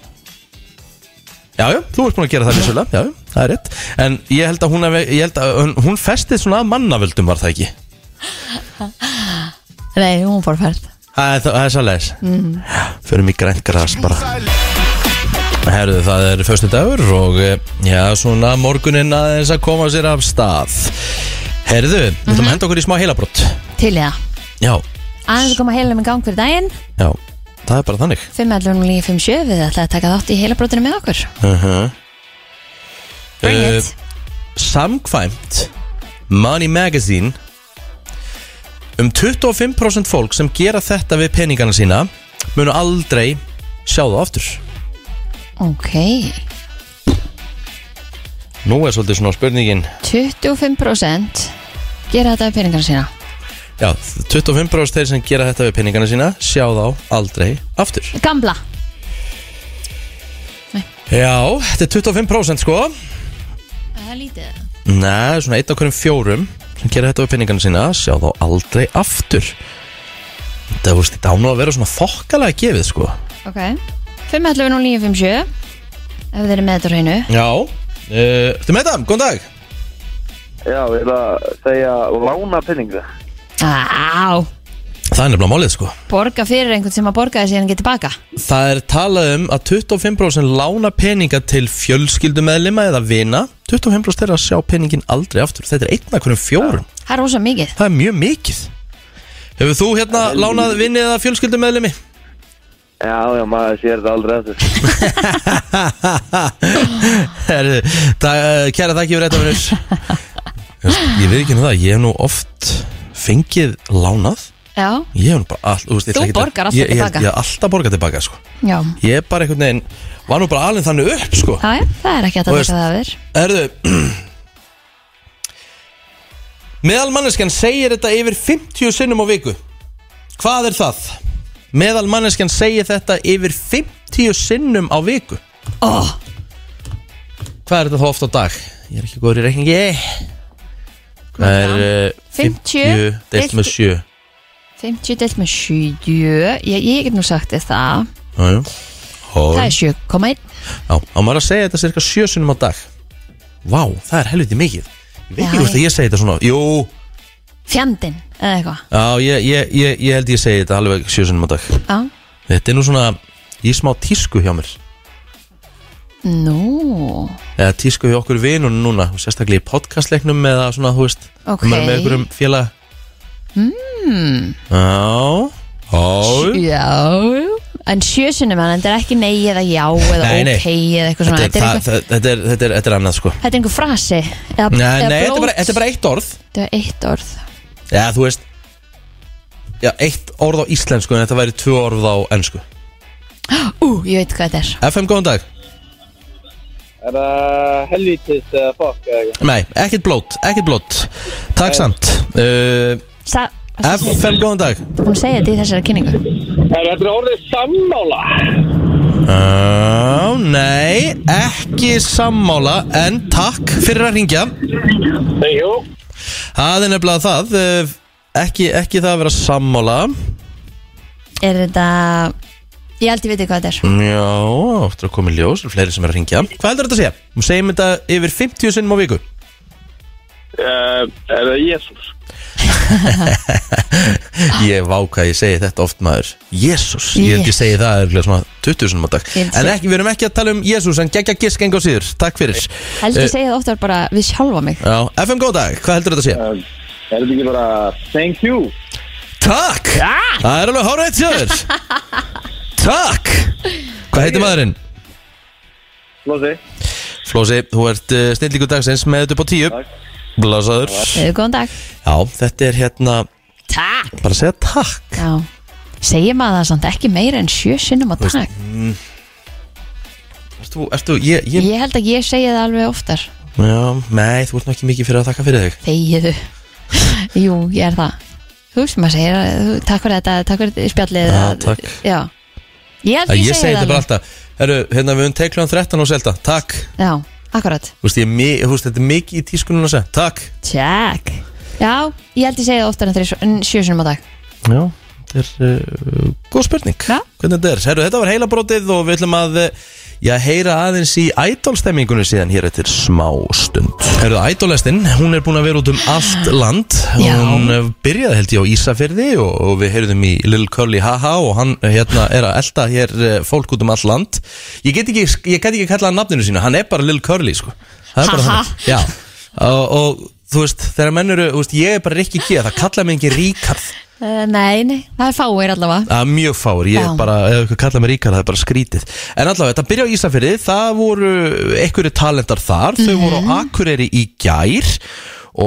[SPEAKER 2] já, já, þú ert búin að gera það vissulega, já, já, það er rétt en ég held að hún, hef, ég held að hún- hún festið svona að mannavöldum var það ekki
[SPEAKER 3] Nei, hún fór ferð
[SPEAKER 2] Það er- það er svolítið mm. Förum í grænt græs bara Herðu það er Föstu dagur og eh, Já svona morgunin aðeins að koma sér af stað Herðu Við ætlum að henda okkur í smá heilabrott
[SPEAKER 3] Til í það
[SPEAKER 2] Já,
[SPEAKER 3] aðeins að koma heilanum í gang fyrir daginn
[SPEAKER 2] já Það er bara þannig
[SPEAKER 3] 511 og 957 við ætlaði að taka þátt í heilabrótinu með okkur
[SPEAKER 2] uh -huh.
[SPEAKER 3] Bring
[SPEAKER 2] Eh,
[SPEAKER 3] it
[SPEAKER 2] Samkvæmt Money Magazine Um 25% fólk sem gera þetta við peningana sína munu aldrei sjá það aftur
[SPEAKER 3] Ok,
[SPEAKER 2] Nú er svolítið svona spurningin
[SPEAKER 3] 25% gera þetta af peningarna sína
[SPEAKER 2] Já, 25% þeir sem gera þetta við peningana sína sjá þá aldrei aftur
[SPEAKER 3] Gamla,
[SPEAKER 2] Já, þetta er 25% sko
[SPEAKER 3] það er lítið
[SPEAKER 2] Nei, svona eitt af hverjum fjórum sem gera þetta við peningana sína sjá þá aldrei aftur Þetta voru stíð án og að vera svona þokkalega gefið sko
[SPEAKER 3] Ok, 511 og 957 ef þið eru með þetta á hreinu
[SPEAKER 2] Já, uh, ertu með það? Góðan dag
[SPEAKER 8] Já, ég ætla að segja lána penninga
[SPEAKER 3] Á,
[SPEAKER 2] Það er nefnilega málið sko
[SPEAKER 3] Borga fyrir einhvern sem að borga þessi en geti baka
[SPEAKER 2] Það er talað um að 25% lána peninga til fjölskyldumeðlima eða vina 25% þeirra sjá peningin aldrei aftur Þetta er einn af hverjum fjórum
[SPEAKER 3] Það er rosa mikið
[SPEAKER 2] Það er mjög mikið Hefur þú hérna lánað vinni eða fjölskyldumeðlimi?
[SPEAKER 8] Já, já, maður sér þetta aldrei eftir
[SPEAKER 2] Herðu, það- eh, Kæra þakki fyrir þetta vinnur Ég veit ekki hérna það, ég hef nú oft fengið lánað
[SPEAKER 3] Já,
[SPEAKER 2] Ég hef nú bara all, úst,
[SPEAKER 3] Þú borgar alltaf tilbaka.
[SPEAKER 2] Ég hef alltaf borgað tilbaka sko.
[SPEAKER 3] já,
[SPEAKER 2] Ég er bara einhvern veginn, var nú bara alveg þannig upp sko.
[SPEAKER 3] já, já það er ekki hægt
[SPEAKER 2] Þú
[SPEAKER 3] að
[SPEAKER 2] veist-
[SPEAKER 3] taka það að þér
[SPEAKER 2] Erðu Meðalmanneskjan segir þetta yfir 50 sinnum á viku Hvað er það? Meðalmanneskjan segir þetta yfir 50 sinnum á viku
[SPEAKER 3] oh,
[SPEAKER 2] Hvað er þetta þá oft á dag? Ég er ekki góður í reikningi Hvað er uh, 50
[SPEAKER 3] 50
[SPEAKER 2] deilt með
[SPEAKER 3] deilt-
[SPEAKER 2] 7
[SPEAKER 3] 50 delt með 7 ég, ég get nú sagt þér það
[SPEAKER 2] Jájú
[SPEAKER 3] Það
[SPEAKER 2] Já,
[SPEAKER 3] er 7,1
[SPEAKER 2] á maður að segja þetta cirka 7 sinnum á dag Vá, það er helviti mikið Ég veit ekki
[SPEAKER 3] Já,
[SPEAKER 2] hvort að ég segi þetta svona Jú,
[SPEAKER 3] Fjandinn, eða eitthvað
[SPEAKER 2] já, ég, ég, ég, ég held ég segi þetta alveg 7 sinnum á dag
[SPEAKER 3] Já,
[SPEAKER 2] Þetta er nú svona í smá tísku hjá mér
[SPEAKER 3] nú
[SPEAKER 2] eða tísku hjá okkur vinunum núna og sérstaklega í podcastleiknum eða svona, þú veist
[SPEAKER 3] Ok. Hmm.
[SPEAKER 2] maður er með einhverjum félag mm. Já Já
[SPEAKER 3] Já, en sjö sinnum en þetta er ekki nei eða já eða
[SPEAKER 2] Nei, nei.
[SPEAKER 3] ok eða eitthvað svona
[SPEAKER 2] Þetta er,
[SPEAKER 3] Þetta er
[SPEAKER 2] það,
[SPEAKER 3] einhver-
[SPEAKER 2] það, þetta, er, þetta, er, þetta er annað sko
[SPEAKER 3] þetta er einhver frasi eða,
[SPEAKER 2] Nei,
[SPEAKER 3] eða
[SPEAKER 2] nei þetta, er
[SPEAKER 3] blót.
[SPEAKER 2] bara, þetta er bara eitt orð
[SPEAKER 3] Þetta er eitt orð
[SPEAKER 2] Já, þú veist Já, eitt orð á íslensku en þetta væri tvö orð á ennsku
[SPEAKER 3] Ú, ég veit hvað þetta er
[SPEAKER 2] FM, góðan dag
[SPEAKER 5] Er það helvítið uh, fokk eða ekki?
[SPEAKER 2] Nei, ekkert blót, ekkert blót Takk samt uh,
[SPEAKER 3] Sa
[SPEAKER 2] FM, góðan dag
[SPEAKER 3] Hún segja þetta í þessari kynningu
[SPEAKER 5] Er þetta orðið sammála?
[SPEAKER 2] Já, nei, ekki sammála en takk fyrir að ringja
[SPEAKER 5] Nei, jú.
[SPEAKER 2] Það er nefnilega það eh, ekki, ekki það að vera sammála
[SPEAKER 3] Er þetta Ég held ég veit hvað þetta er
[SPEAKER 2] Já, áttur að koma í ljós eru fleiri sem er að ringja Hvað heldur þetta að segja? Hún segjum þetta yfir 50 sinnum á viku
[SPEAKER 5] Uh, er það Jésús?
[SPEAKER 2] Ég vá hvað ég segi þetta oft maður Jésús, ég held ég
[SPEAKER 3] Yes.
[SPEAKER 2] segi það er svona 20 sinnum á dag
[SPEAKER 3] Ég held
[SPEAKER 2] En
[SPEAKER 3] ég-
[SPEAKER 2] ekki, við erum ekki að tala um Jésús en geggja gisk engu á síður, takk fyrir
[SPEAKER 3] Held
[SPEAKER 2] Eh.
[SPEAKER 3] ég segja þetta oftar bara við sjálfa mig
[SPEAKER 2] Já, FM góð dag, hvað heldur þetta að segja?
[SPEAKER 5] Er þetta Uh, ekki bara thank you?
[SPEAKER 2] Takk Það er alveg hárveitt sjöður Takk Hvað heitir maðurinn?
[SPEAKER 5] Flósi.
[SPEAKER 2] Flósi, þú ert uh, snillíkur dagsins með þetta upp á tíu Blasaður
[SPEAKER 3] Eða Eh, góðan dag
[SPEAKER 2] Já, þetta er hérna
[SPEAKER 3] Takk
[SPEAKER 2] Bara að segja takk
[SPEAKER 3] Já Segir maður það samt ekki meira en sjö sinnum á dag
[SPEAKER 2] Ertu, ertu, ég, ég
[SPEAKER 3] Ég held að ég segja það alveg oftar
[SPEAKER 2] Já, nei, þú ert nú ekki mikið fyrir að þakka fyrir þig
[SPEAKER 3] Þegiðu Jú, ég er það Þú veist, maður segir að þú- Takk fyrir þetta, takk fyrir spjallið
[SPEAKER 2] Já,
[SPEAKER 3] að-
[SPEAKER 2] takk.
[SPEAKER 3] Já Ég held
[SPEAKER 2] Æ,
[SPEAKER 3] ég,
[SPEAKER 2] Ég segi þetta
[SPEAKER 3] það
[SPEAKER 2] bara
[SPEAKER 3] alveg.
[SPEAKER 2] alltaf Herru, hérna við höfum teiklan 13 og selta Takk
[SPEAKER 3] Já, akkurat
[SPEAKER 2] Þú veist, ég, er mi, þú veist, þetta er mikið í tískunum að segja Takk
[SPEAKER 3] Tjekk Já, ég held ég segja það oftar en, þrisvar- en sjö sinnum á dag
[SPEAKER 2] Já, þetta er uh, góð spurning
[SPEAKER 3] Já.
[SPEAKER 2] Hvernig þetta er? Herru, þetta var heilabrótið og við ætlum að uh, já, heyra aðeins í ædolstemmingunni síðan hér eftir smá stund Herru, ædolestinn, hún er búin að vera út um allt land
[SPEAKER 3] Já.
[SPEAKER 2] Hún uh, byrjaði held ég á Ísafirði og, og við heyrðum í Lil Curly Haha og hann uh, hérna, er að elda hér uh, fólk út um allt land Ég get ekki, ég get ekki kallað hann nafninu sínu, hann er bara Lil Curly sko Það er bara
[SPEAKER 3] Haha.
[SPEAKER 2] þannig. Já, og, og þú veist, þegar menn eru, þú veist, ég er bara Rikki G, það kalla mig engin Ríkard
[SPEAKER 3] uh, Nei, nei, það er fáir allavega
[SPEAKER 2] Það er mjög fáur, ég
[SPEAKER 3] Já.
[SPEAKER 2] bara, ef eitthvað kalla mér ríkar, það er bara skrítið En allavega, þetta byrja á Ísafyrði, það voru einhverju talentar þar, þau voru á Akureyri í gær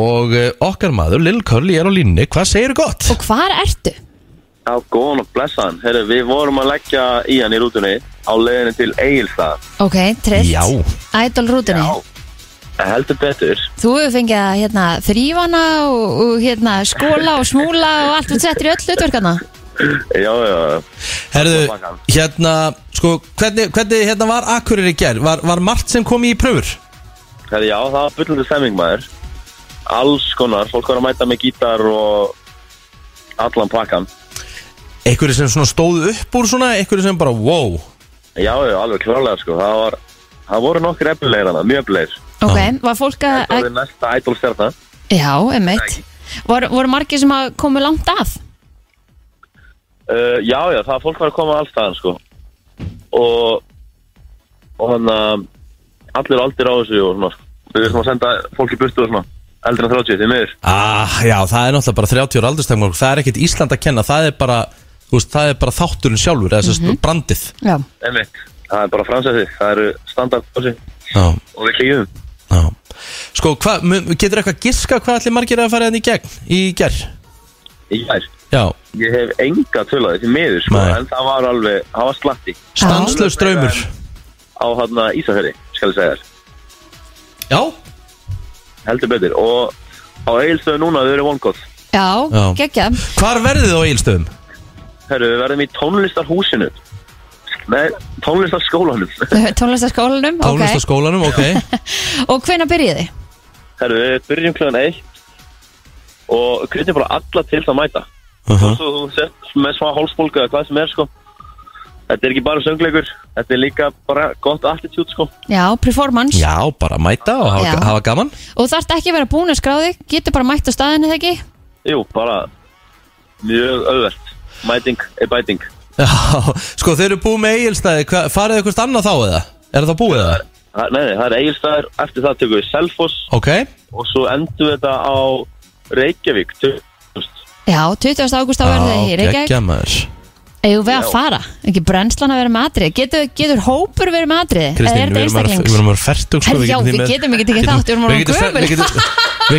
[SPEAKER 2] Og eh, okkar maður, Lil Curly, er á línni, hvað segirðu gott?
[SPEAKER 3] Og hvar ertu?
[SPEAKER 5] Já, góðan og blessaðan. Herru, við vorum að leggja í hann í rútunni á leiðinu til Egilstað.
[SPEAKER 3] Ok, trillt
[SPEAKER 2] Já.
[SPEAKER 3] Idol rútunni
[SPEAKER 5] Heldur betur.
[SPEAKER 3] Þú hefur fengið að hérna, þrýfana og, og hérna, skóla og smúla og allt út settir í öll hlutverkana
[SPEAKER 5] Já, já, já.
[SPEAKER 2] Herðu,
[SPEAKER 5] bakan.
[SPEAKER 2] hérna, sko, hvernig, hvernig hérna var Akureyri í gær? Var, var margt sem kom í pröfur?
[SPEAKER 5] Herri, já, það var bullandi stemming maður Alls konar, Sko, fólk var að mæta með gítar og allan pakkan
[SPEAKER 2] Einhverju sem svona stóðu upp úr svona, einhverju sem bara, wow
[SPEAKER 5] Já, já, alveg klárlega sko Það, var, það voru nokkur efnilegir hana, mjög efnilegir
[SPEAKER 3] Ok, var fólk að
[SPEAKER 5] Það er næsta idolstjarna
[SPEAKER 3] Já, emmitt Var, voru margir sem að komu langt að?
[SPEAKER 5] Uh, já, já, það er fólk var að koma alls staðan, sko. Og, og hann að allir aldir á þessu og svona, sko. Við erum að senda fólk í burtu og svona, eldri en 30, því miður.
[SPEAKER 2] Ah, já, það er náttúrulega bara 30 ára aldurstakmark Það er ekkert Ísland að kenna, það er bara þú veist, það er bara þátturinn sjálfur eða mm brandið
[SPEAKER 3] Já,
[SPEAKER 5] Einmitt. Það er bara fransæði, það eru standard á þessu
[SPEAKER 2] já,
[SPEAKER 5] og við klíðum.
[SPEAKER 2] já. Sko, hva, mun- getur eitthvað giska hvað allir margir að fara henni í gegn í gerð?
[SPEAKER 5] Í gær.
[SPEAKER 2] Já,
[SPEAKER 5] Ég hef enga tölu á því miður, sko,
[SPEAKER 2] Nei.
[SPEAKER 5] en það var alveg, það var slatti
[SPEAKER 2] stanslaus draumur
[SPEAKER 5] á hann að Ísafjörði, skal ég segja þér.
[SPEAKER 2] Já,
[SPEAKER 5] Heldur betur. Og á eigilstöðu núna, þau eru vongóð.
[SPEAKER 3] já,
[SPEAKER 2] Já.
[SPEAKER 3] geggja
[SPEAKER 2] hvar verðið þið á Egilstöðum?
[SPEAKER 5] Herru, við verðum í tónlistarhúsinu. Nei, tónlistarskólanum.
[SPEAKER 3] Tónlistaskólanum, ok
[SPEAKER 2] Tónlistaskólanum, ok
[SPEAKER 3] Og hvenær byrjiði?
[SPEAKER 5] Herru, við byrjum kljóðan eitt og kvittum bara alla til það að mæta.
[SPEAKER 2] uh
[SPEAKER 5] Svo þú sett með smá hálsbólgu eða hvað sem er, sko. Þetta er ekki bara söngleikur, þetta er líka bara gott attitude, sko.
[SPEAKER 3] Já, performance
[SPEAKER 2] Já, bara mæta og hafa,
[SPEAKER 3] Já.
[SPEAKER 2] hafa gaman
[SPEAKER 3] Og þarft ekki að vera búin að skráði Getur bara mætt á staðinu þegar ekki
[SPEAKER 5] Jú, bara mjög auðvelt. Mæting er bæting.
[SPEAKER 2] Já, sko, þeir eru búið með Egilstæði Farið eitthvað annað þá eða? Er það búið það?
[SPEAKER 5] Það- Nei, nei, það er eigilstæðir, eftir það tökum við Selfoss
[SPEAKER 2] Ok,
[SPEAKER 5] og svo endum við þetta á Reykjavík, 2000.
[SPEAKER 3] Já, 20. ágúst á verðið í Reykjavík
[SPEAKER 2] geggja maður
[SPEAKER 3] Eða við að
[SPEAKER 5] Já.
[SPEAKER 3] fara, ekki brennslan að vera með atriði Getur, getur hópur verið með atriði? Eða
[SPEAKER 2] Kristín,
[SPEAKER 3] er
[SPEAKER 2] við
[SPEAKER 3] þetta
[SPEAKER 2] erum að vera-
[SPEAKER 3] einstaklings?
[SPEAKER 2] við erum að vera fertug
[SPEAKER 3] Herra, já, við getum ekki tekið þátt, við erum orðin gömul.
[SPEAKER 2] Við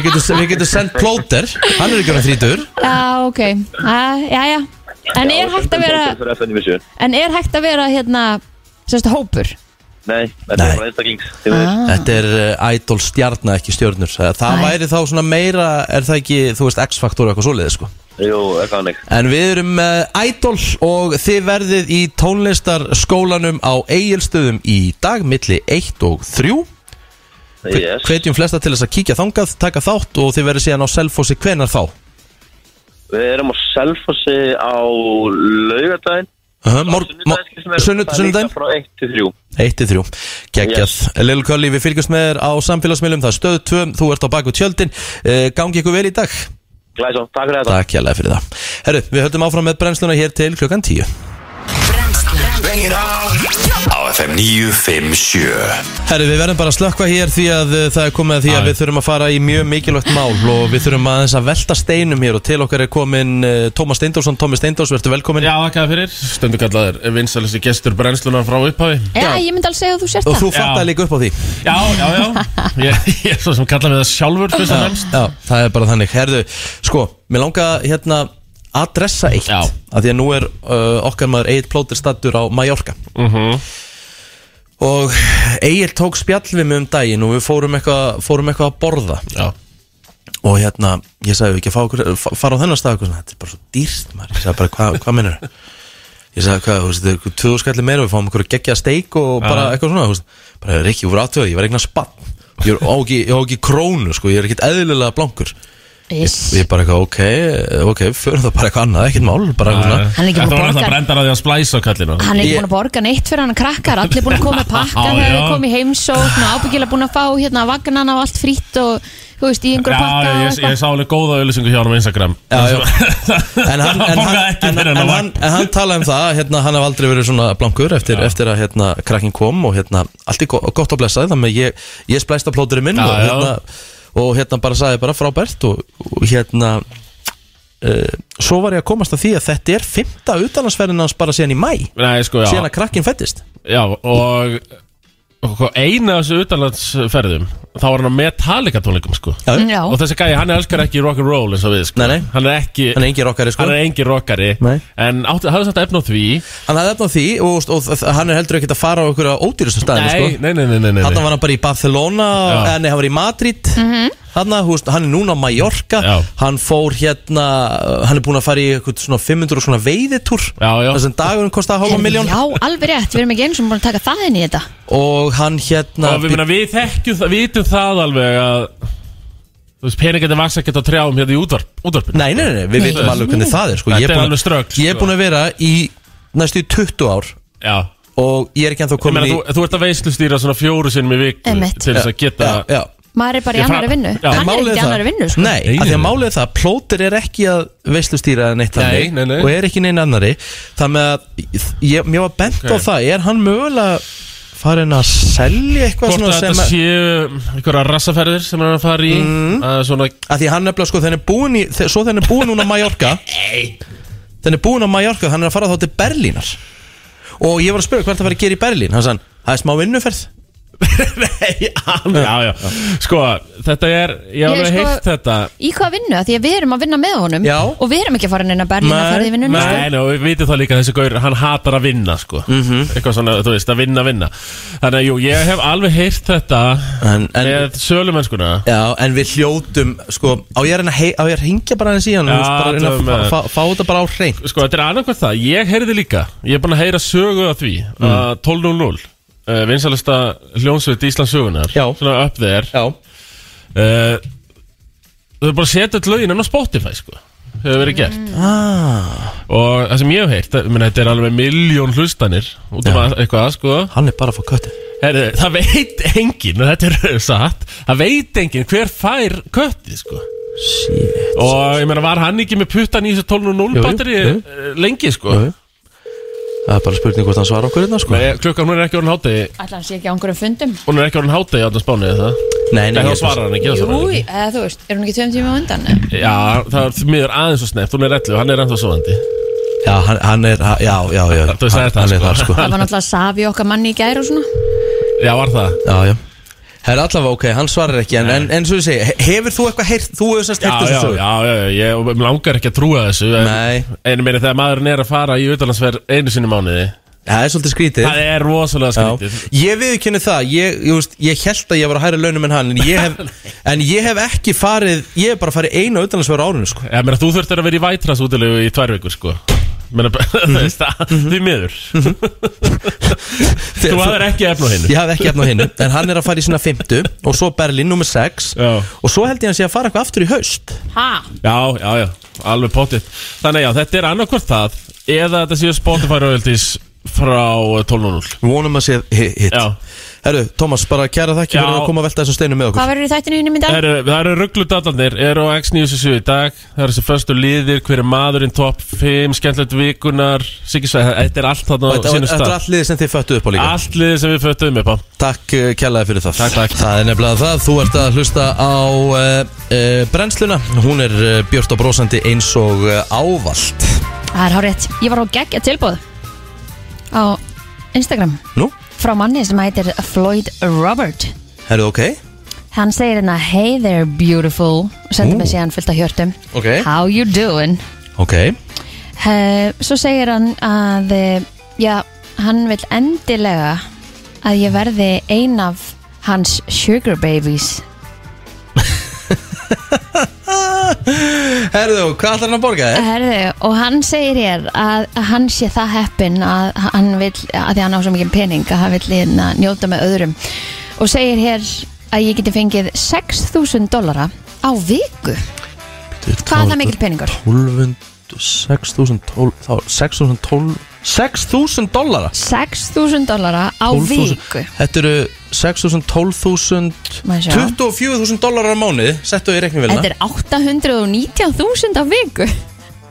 [SPEAKER 2] getum, við getum sendt plóter Hann er ekki orðin þrítur
[SPEAKER 3] Já, ok, ah, já, já En er hægt að vera
[SPEAKER 5] vera...
[SPEAKER 3] En er hægt að vera hérna Sérst hópur
[SPEAKER 5] Nei, þetta
[SPEAKER 2] Nei.
[SPEAKER 5] er bara einstaklings. því miður.
[SPEAKER 2] Þetta er uh, idol stjarna ekki stjörnur Það, það
[SPEAKER 3] Nei.
[SPEAKER 2] væri þá svona meira Er það ekki, þú veist, X-faktor eitthvað svoleiði sko.
[SPEAKER 5] Jú, eitthvað hannig.
[SPEAKER 2] En við erum með idol Og þið verðið í tónlistarskólanum Á eigilstöðum í dag Milli 1 og 3
[SPEAKER 5] Yes.
[SPEAKER 2] Hvetjum flesta til þess að kíkja þangað Taka þátt og þið verðið síðan á selfossi Hvenar þá?
[SPEAKER 5] Við erum á Selfossi á laugardaginn.
[SPEAKER 2] Uh -huh, mor- mor-
[SPEAKER 5] Sunnudaginn.
[SPEAKER 2] sunnudaginn
[SPEAKER 5] sem er- Það er líka frá 1 til 3.
[SPEAKER 2] 1-3 Gekkjað yes.
[SPEAKER 5] Yes.
[SPEAKER 2] Lill Kölli, við fylgjumst með þér á samfélagsmiðlum Það er stöð 2, þú ert á baku tjöldin uh, Gangi ykkur vel í dag
[SPEAKER 5] Glæsson, takk fyrir þetta.
[SPEAKER 2] Takk hérlega fyrir það Herru, við höldum áfram með brennsluna hér til klukkan 10
[SPEAKER 1] Bring it on Á FM 957
[SPEAKER 2] Herru, við verðum bara að slökka hér því að uh, það er komið að því að við þurfum að fara í mjög mikilvægt mál og við þurfum aðeins að velta steinum hér og til okkar er komin uh, Tómas Steindórsson Tómi Steindórs, verður velkomin
[SPEAKER 10] Já, þakka þér fyrir. Stundu kallaður vinsalisti gestur brennsluna frá upphafi.
[SPEAKER 3] Já, ég myndi alveg segja að þú sért
[SPEAKER 2] og
[SPEAKER 3] það
[SPEAKER 2] þú fattaði líka upp á því
[SPEAKER 10] Já, já, já. Ég, ég er svo sem kalla mig það sjálfur fyrst og fremst.
[SPEAKER 2] Já, það er bara þannig Herðu, sko, mér langa hérna að dressa eitt
[SPEAKER 10] Já.
[SPEAKER 2] að því að nú er uh, okkar maður Egil Plóter stattur á Mallorca
[SPEAKER 10] Mhm.
[SPEAKER 2] og Egil tók spjall við mig um daginn og við fórum eitthvað fórum eitthvað að borða
[SPEAKER 10] Já.
[SPEAKER 2] og hérna, ég sagði "Eigum við ekki að fá okkur, fa- fara á þennan stað okkur, þetta er bara svo dýrt maður, ég sagði bara, "Hva- hvað hva minnur ég sagði, hvað, þú veist, þetta er tvöðu skallir meira við fáum okkur að gegja steik og bara eitthvað svona, þú veist, bara, Rikki, voru átöðu, ég var eignan spann ég er á ekki, ég á ekki krónu, sko, ég er ekkit eðlilega blankur
[SPEAKER 3] Yes.
[SPEAKER 2] og ég bara eitthvað, ok, ok, förum það bara eitthvað annað, ekkert mál, bara eitthvað svona
[SPEAKER 3] Hann er ekki búinn að
[SPEAKER 10] Þetta var
[SPEAKER 3] borga.
[SPEAKER 10] alltaf brendar að því að splæsa kallinu.
[SPEAKER 3] Hann er ekki
[SPEAKER 2] Ég-
[SPEAKER 3] búin að borga neitt fyrir hann krakkar Allir búin að koma að pakka
[SPEAKER 10] Já,
[SPEAKER 3] þegar
[SPEAKER 10] já.
[SPEAKER 3] þeir komi heimsókn og ábyggilega búin að fá hérna vagnan á allt frýtt og þú veist, í einhverju pakka og
[SPEAKER 10] Já, ég, ég
[SPEAKER 3] eitthvað
[SPEAKER 10] sá alveg góða auðlýsingu hjá hann á Instagram.
[SPEAKER 2] Já, já. en hann, en
[SPEAKER 10] Það
[SPEAKER 2] hann,
[SPEAKER 10] borgaði ekki
[SPEAKER 2] en,
[SPEAKER 10] fyrir
[SPEAKER 2] en,
[SPEAKER 10] hann á
[SPEAKER 2] hann, en hann talaði um það hérna, hann hef aldrei verið svona blankur eftir, eftir að hérna, krakkin kom og hérna, allt er go- gott að blessa þannig að ég, ég splæst á plóturinn minn
[SPEAKER 10] Já,
[SPEAKER 2] og,
[SPEAKER 10] já.
[SPEAKER 2] hérna, og hérna bara sagði bara frábært og, og hérna uh, svo var ég að komast að því að þetta er fymta utalansferðin hans bara síðan í mæ
[SPEAKER 10] Nei, sko, já.
[SPEAKER 2] síðan að krakkin fættist
[SPEAKER 10] Já, og, og eina af þessu utanlandsferðum, þá var hann á Metallica tónleikum, sko.
[SPEAKER 3] Já,
[SPEAKER 10] Og þessi gæi, hann elskar ekki rock'n'roll eins og við, sko.
[SPEAKER 2] Nei, nei.
[SPEAKER 10] Hann er ekki,
[SPEAKER 2] hann er engin rockari sko
[SPEAKER 10] hann er engin rockari.
[SPEAKER 2] Nei.
[SPEAKER 10] En átti, hafði þetta efn á því.
[SPEAKER 2] hann hafði efna því og, og, og hann er heldur ekkert að fara á einhverja ódýrustu staðinu sko
[SPEAKER 10] nei, nei, nei, nei, nei.
[SPEAKER 2] Þannig var hann bara í Barcelona
[SPEAKER 10] Já.
[SPEAKER 2] eh, Nei, hann var í Madrid Þannig að veist, hann er núna á Mallorca
[SPEAKER 10] Já.
[SPEAKER 2] Hann fór hérna uh, Hann er búinn að fara í eitthvað svona 500 og svona veiðitúr
[SPEAKER 10] Já, já.
[SPEAKER 2] Þessum dagurinn kostaði hálfa
[SPEAKER 3] Herri,
[SPEAKER 2] miljón
[SPEAKER 3] já, alveg rétt, við erum ekki eins og búin að taka það inn í þetta
[SPEAKER 2] Og hann hérna
[SPEAKER 10] og við, meina, við þekkjum það, vitum það alveg að þú veist, peningarnir vaks ekkert á trjám hérna í útvarp, útvarpinu
[SPEAKER 2] Nei, nei, nei, nei, við vitum alveg hvernig það er sko.
[SPEAKER 10] Þetta
[SPEAKER 2] Ég
[SPEAKER 10] er
[SPEAKER 2] búinn að-
[SPEAKER 10] alveg strögl,
[SPEAKER 2] Ég er
[SPEAKER 10] sko.
[SPEAKER 2] búinn að vera í næstu í 20 ár
[SPEAKER 10] Já,
[SPEAKER 2] Og ég er ekki ennþá
[SPEAKER 10] ég meina,
[SPEAKER 2] komin í
[SPEAKER 10] þú, þú ert að veislustýra svona fjóru sinnum í viku
[SPEAKER 3] Einmitt.
[SPEAKER 10] til þess að geta
[SPEAKER 2] Já, já
[SPEAKER 3] maður er bara í
[SPEAKER 2] Ég
[SPEAKER 3] annari
[SPEAKER 2] fra-
[SPEAKER 3] vinnu
[SPEAKER 2] Já. En
[SPEAKER 3] hann er
[SPEAKER 2] málið
[SPEAKER 3] ekki í
[SPEAKER 2] það-
[SPEAKER 3] annari vinnu sko.
[SPEAKER 2] Nei, af því að málið er það að plóter er ekki að veistustýra eða neitt
[SPEAKER 10] Nei,
[SPEAKER 2] þannig
[SPEAKER 10] nei, nei.
[SPEAKER 2] og er ekki neina annari þannig að ég, mér var bent
[SPEAKER 10] Ok.
[SPEAKER 2] á það er hann mögulega farin að selja eitthvað
[SPEAKER 10] Hvort
[SPEAKER 2] svona
[SPEAKER 10] að
[SPEAKER 2] sem
[SPEAKER 10] þetta
[SPEAKER 2] að Mm.
[SPEAKER 10] séu einhverja rassaferðir sem hann er að fara í að svona
[SPEAKER 2] að því hann nefnilega sko þenni búin í þe- svo þenni búin núna á Mallorca þenni búin á Mallorca hann er að fara þá til Berlínar og ég var að spyrja hvað það var að gera í Berlín hann sann, það er smá vinnuferð
[SPEAKER 10] Já, já, sko, þetta er Ég hef
[SPEAKER 3] Ég,
[SPEAKER 10] alveg
[SPEAKER 3] sko-
[SPEAKER 10] heyrt þetta
[SPEAKER 3] í hvaða vinnu, af því að við erum að vinna með honum
[SPEAKER 10] Já.
[SPEAKER 3] og við erum ekki að fara neina Berlín að fara í vinnunni
[SPEAKER 10] nei,
[SPEAKER 3] sko.
[SPEAKER 10] nei, og við vitum það líka að þessi gaur, hann hatar að vinna sko.
[SPEAKER 2] Mhm.
[SPEAKER 10] eitthvað svona, þú veist, að vinna, vinna þannig að jú, ég hef alveg heyrt þetta
[SPEAKER 2] en, en,
[SPEAKER 10] með sölumennskuna
[SPEAKER 2] Já, en við hljótum sko, á ég að reyna að hei- á ég að hringja bara hans í hann
[SPEAKER 10] Já,
[SPEAKER 2] þú veist, bara að reyna
[SPEAKER 10] það
[SPEAKER 2] að
[SPEAKER 10] með-
[SPEAKER 2] fá, fá, fá þetta bara á hrein
[SPEAKER 10] sko, þetta er annað hvað það, ég heyrði líka ég er búin að heyra sögu af því
[SPEAKER 2] Mm.
[SPEAKER 10] að 12.00, uh, vinsalasta hljónsveit Íslands sögunar, já. svona upp þér
[SPEAKER 2] já
[SPEAKER 10] uh, þau eru bara að setja öll lögin enn á Spotify, sko hefur verið gert
[SPEAKER 2] ah.
[SPEAKER 10] og það sem ég hef heyrt, ég meina, þetta er alveg miljón hlustanir út af að- eitthvað, sko
[SPEAKER 2] Hann er bara að fá köttið
[SPEAKER 10] Herðu, það veit enginn, og þetta er satt Það veit enginn hver fær köttið, sko
[SPEAKER 2] Shit.
[SPEAKER 10] Og ég meina, var hann ekki með puttan í þessu 12.0
[SPEAKER 2] jú,
[SPEAKER 10] batteri
[SPEAKER 2] jú.
[SPEAKER 10] eh, lengi, sko
[SPEAKER 2] Jú, jú. það er bara spurning hvort hann svara okkur hérna sko.
[SPEAKER 10] Nei, klukkan hún er ekki orðin hátegi
[SPEAKER 3] ætla hann sé ekki á einhverjum fundum
[SPEAKER 10] Hún er ekki orðin hátegi áttan spánið það
[SPEAKER 2] Nei,
[SPEAKER 10] nei, þá svarar hann ekki þá svarar hann
[SPEAKER 3] Júi, eða þú veist, er hún ekki tveim tíma á undan? eða?
[SPEAKER 10] ekki. Já, það er því miður aðeins og sneft, hún er ellu, hann er ennþá svoandi
[SPEAKER 2] Já, hann, hann er, ha- já, já, já
[SPEAKER 10] Þú sagði það,
[SPEAKER 2] hann er
[SPEAKER 10] sko.
[SPEAKER 2] þar, sko.
[SPEAKER 3] Það var náttúrulega safi okkar manni í gær og svona
[SPEAKER 10] Já, var það
[SPEAKER 2] Já, já Það er allavega ok, hann svarar ekki En, en, en svo ég segi, he- hefur þú eitthvað heyrt Þú hefur sérst
[SPEAKER 10] Já,
[SPEAKER 2] heyrt
[SPEAKER 10] já,
[SPEAKER 2] þessu
[SPEAKER 10] já, já, já, ég og mig langar ekki að trúa þessu en, en ég meina þegar maðurinn er að fara í utalansverð einu sinni í mánuði
[SPEAKER 2] Það er svolítið skrítið
[SPEAKER 10] Það er rosalega skrítið
[SPEAKER 2] Ég viðkynni það, ég, ég, veist, ég held að ég var að hæra launum en hann En ég hef, en ég hef ekki farið Ég hef bara farið eina utanlandsverð á árinu sko.
[SPEAKER 10] Já, meina, þú þurftir að vera í vætras útilegu í tvær vikur, sko Meina, þú veist, það-
[SPEAKER 2] Mhm.
[SPEAKER 10] því miður Þú hafðir ekki efn á hinu
[SPEAKER 2] Ég hafði ekki efna á hinu En hann er að fara í sína 50 Og svo Berlín nummer 6 já. Og svo held ég að hann sé að fara eitthvað aftur í haust
[SPEAKER 3] Ha?
[SPEAKER 10] Já, já, já, alveg potið Þannig að já, þetta er annarkvort það Eða þetta séu Spotify royalties frá 12.0
[SPEAKER 2] Vonum að sé hitt
[SPEAKER 10] Já
[SPEAKER 2] Herru, Tómas, bara kæra þakki
[SPEAKER 10] Já.
[SPEAKER 2] fyrir að koma að velta þessum steinu með okkur
[SPEAKER 3] Hvað verður í þættinu hinn um í dag?
[SPEAKER 10] Heru, það eru ruggludatarnir, eru á X97 í dag Það eru þessi föstu liðir, hver er maðurinn Top 5, skemmtilegt vikunar Sigisvæð, þetta er allt þarna á
[SPEAKER 2] Þetta
[SPEAKER 10] sínum
[SPEAKER 2] þetta
[SPEAKER 10] stað.
[SPEAKER 2] er allt liðið sem þið föttuð upp á líka
[SPEAKER 10] Allt liðið sem við föttum upp á
[SPEAKER 2] Takk uh, kjallaði fyrir það takk, takk. Það er nefnilega það, þú ert að hlusta á uh, uh, brennsluna Hún er uh, björt og brósandi eins og uh, ávalt
[SPEAKER 3] Það er hárétt. Ég var á geggja tilbúð á Instagram
[SPEAKER 2] Nú?
[SPEAKER 3] frá manni sem heitir Floyd Robert.
[SPEAKER 2] Herru, ok
[SPEAKER 3] Hann segir hérna Hey there beautiful og sendir
[SPEAKER 2] Ú.
[SPEAKER 3] mig síðan fullt af hjörtum.
[SPEAKER 2] Ok.
[SPEAKER 3] How you doing?
[SPEAKER 2] Ok
[SPEAKER 3] Uh, svo segir hann að eh, já, hann vil endilega að ég verði ein af hans sugar babies.
[SPEAKER 2] Herru, hvað ætlar hann að borga þér?
[SPEAKER 3] Herðu, og hann segir hér að að hann sé það heppin að hann vill, að því hann á svo mikið pening að hann vill hérna njóta með öðrum og segir hér að ég geti fengið 6.000 dollara á viku Eh, Hvað er það mikill peningur?
[SPEAKER 2] 12, 6.000 tól- þá- 6.000 tól- 6.000 dollara
[SPEAKER 3] 6.000 dollara á
[SPEAKER 2] 12.000
[SPEAKER 3] viku
[SPEAKER 2] Þetta eru 6.000, 12.000
[SPEAKER 3] Má ég sjá?
[SPEAKER 2] 24.000 dollara á mánuði Settu í reikningvélina
[SPEAKER 3] Þetta er 819.000 á viku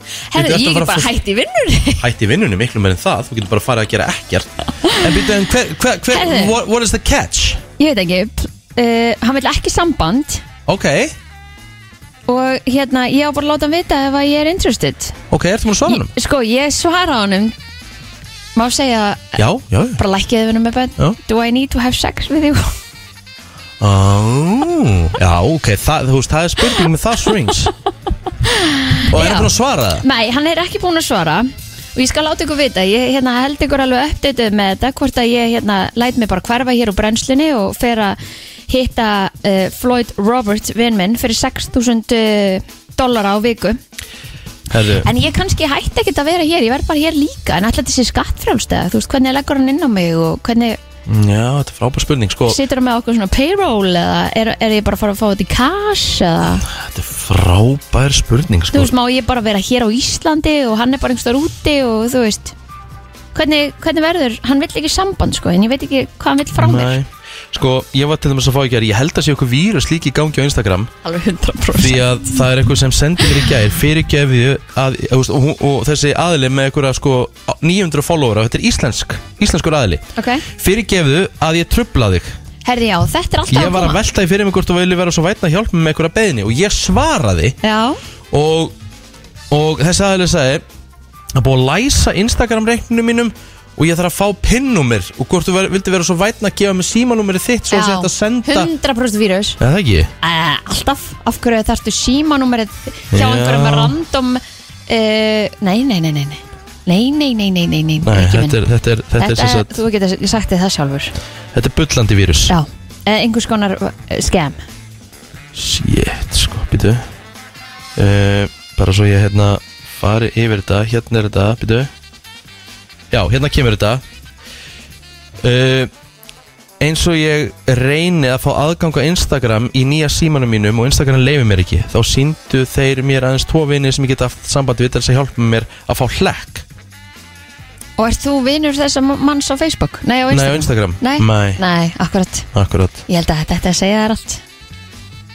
[SPEAKER 2] Þetta er
[SPEAKER 3] Herðu, ég
[SPEAKER 2] alltaf
[SPEAKER 3] er
[SPEAKER 2] bara
[SPEAKER 3] bara
[SPEAKER 2] fólk-
[SPEAKER 3] hætt í vinnur
[SPEAKER 2] Hætti í vinnunni miklu meir en það Þú getur bara að fara að gera ekkert En byrju, en hver, hver, hver
[SPEAKER 3] Herðu.
[SPEAKER 2] what, what is the catch?
[SPEAKER 3] Ég veit ekki, uh, hann vill ekki samband
[SPEAKER 2] Ok,
[SPEAKER 3] og hérna, ég á bara að láta hann vita ef að ég er interested
[SPEAKER 2] ok, ertu múin að svara hennum?
[SPEAKER 3] Sko, ég svara honum Má segja,
[SPEAKER 2] Já, já, já
[SPEAKER 3] bara lækkiði við með bönn
[SPEAKER 2] Já.
[SPEAKER 3] Do I need to have sex with you?
[SPEAKER 2] oh, Já, ok, það, þú veist, það er spurning með það swings Og er
[SPEAKER 3] Já.
[SPEAKER 2] hann búin að svara það?
[SPEAKER 3] Nei, hann er ekki búinn að svara Og ég skal láta ykkur vita Ég hérna, held ykkur alveg uppdatuð með þetta Hvort að ég hérna, læt mig bara hverfa hér úr brennslinni Og fer að hitta uh, Floyd Roberts, vinn minn Fyrir 6.000 dollara á viku
[SPEAKER 2] Herðu,
[SPEAKER 3] En ég kannski hætti ekkert að vera hér Ég verð bara hér líka En alltaf þessi skattfrjálstæða Þú veist, hvernig leggur hann inn á mig Og hvernig
[SPEAKER 2] já, þetta er frábær spurning Sko,
[SPEAKER 3] situr hann með okkur svona payroll Eða er, er ég bara að fara að fá þetta í cash Eða
[SPEAKER 2] þetta er frábær spurning
[SPEAKER 3] þú
[SPEAKER 2] sko.
[SPEAKER 3] veist, má ég bara vera hér á Íslandi og hann er bara einhverstaðar úti og þú veist hvernig, hvernig verður, hann vill ekki samband sko, en ég veit ekki hvað hann vill frá mér
[SPEAKER 2] Nei. Sko, ég var til dæmis að fá í gær Ég held að sé okkur vírus líki í gangi á Instagram
[SPEAKER 3] Alveg 100%
[SPEAKER 2] Því að það er eitthvað sem sendi mér í gær Fyrirgefiðu að, að, og, og, og þessi aðli með eitthvað sko 900 followera, þetta er íslensk Íslenskur aðli
[SPEAKER 3] Ok,
[SPEAKER 2] Fyrirgefiðu að ég trubla þig
[SPEAKER 3] herði já, þetta er alltaf
[SPEAKER 2] Ég var að
[SPEAKER 3] koma.
[SPEAKER 2] velta í fyrir mig hvort þú vilji vera svo vætna að hjálpa mér með eitthvað beðni Og ég svaraði
[SPEAKER 3] Já,
[SPEAKER 2] og, og þessi aðeins sagði að búið að læsa Instagram reikninu mínum og ég þarf að fá pinnumir og hvort þú ver, vildi vera svo vætna að gefa mig símanúmeri þitt svo
[SPEAKER 3] já,
[SPEAKER 2] að þetta senda
[SPEAKER 3] 100% vírus
[SPEAKER 2] Eða ekki?
[SPEAKER 3] uh, Alltaf, af hverju þarftu símanúmerið hjá
[SPEAKER 2] Já.
[SPEAKER 3] einhverjum random uh, Nei, nei, nei, nei, nei Nei, nei, nei, nei, nei, nei,
[SPEAKER 2] Nei,
[SPEAKER 3] ekki
[SPEAKER 2] þetta er,
[SPEAKER 3] minn.
[SPEAKER 2] þetta er, þetta er, sem sagt,
[SPEAKER 3] Þú getur sagt þið það sjálfur
[SPEAKER 2] þetta er bullandi vírus
[SPEAKER 3] Já, eða einhvers konar uh, scam
[SPEAKER 2] Shit, sko, býtu uh, Bara svo ég hérna fari yfir þetta, hérna er þetta, býtu Já, hérna kemur þetta uh, Eins og ég reyni að fá aðgang á Instagram í nýja símanum mínum og Instagram leifir mér ekki þá síndu þeir mér aðeins tvo vini sem ég geta haft sambandi við til þess að hjálpa mér að fá hlekk
[SPEAKER 3] Og ert þú vinur þessa manns á Facebook? Nei, á
[SPEAKER 2] Nei,
[SPEAKER 3] Instagram
[SPEAKER 2] á Instagram.
[SPEAKER 3] Nei,
[SPEAKER 2] Nei.
[SPEAKER 3] akkurat
[SPEAKER 2] Akkurat,
[SPEAKER 3] Ég held að þetta ætti að segja þér allt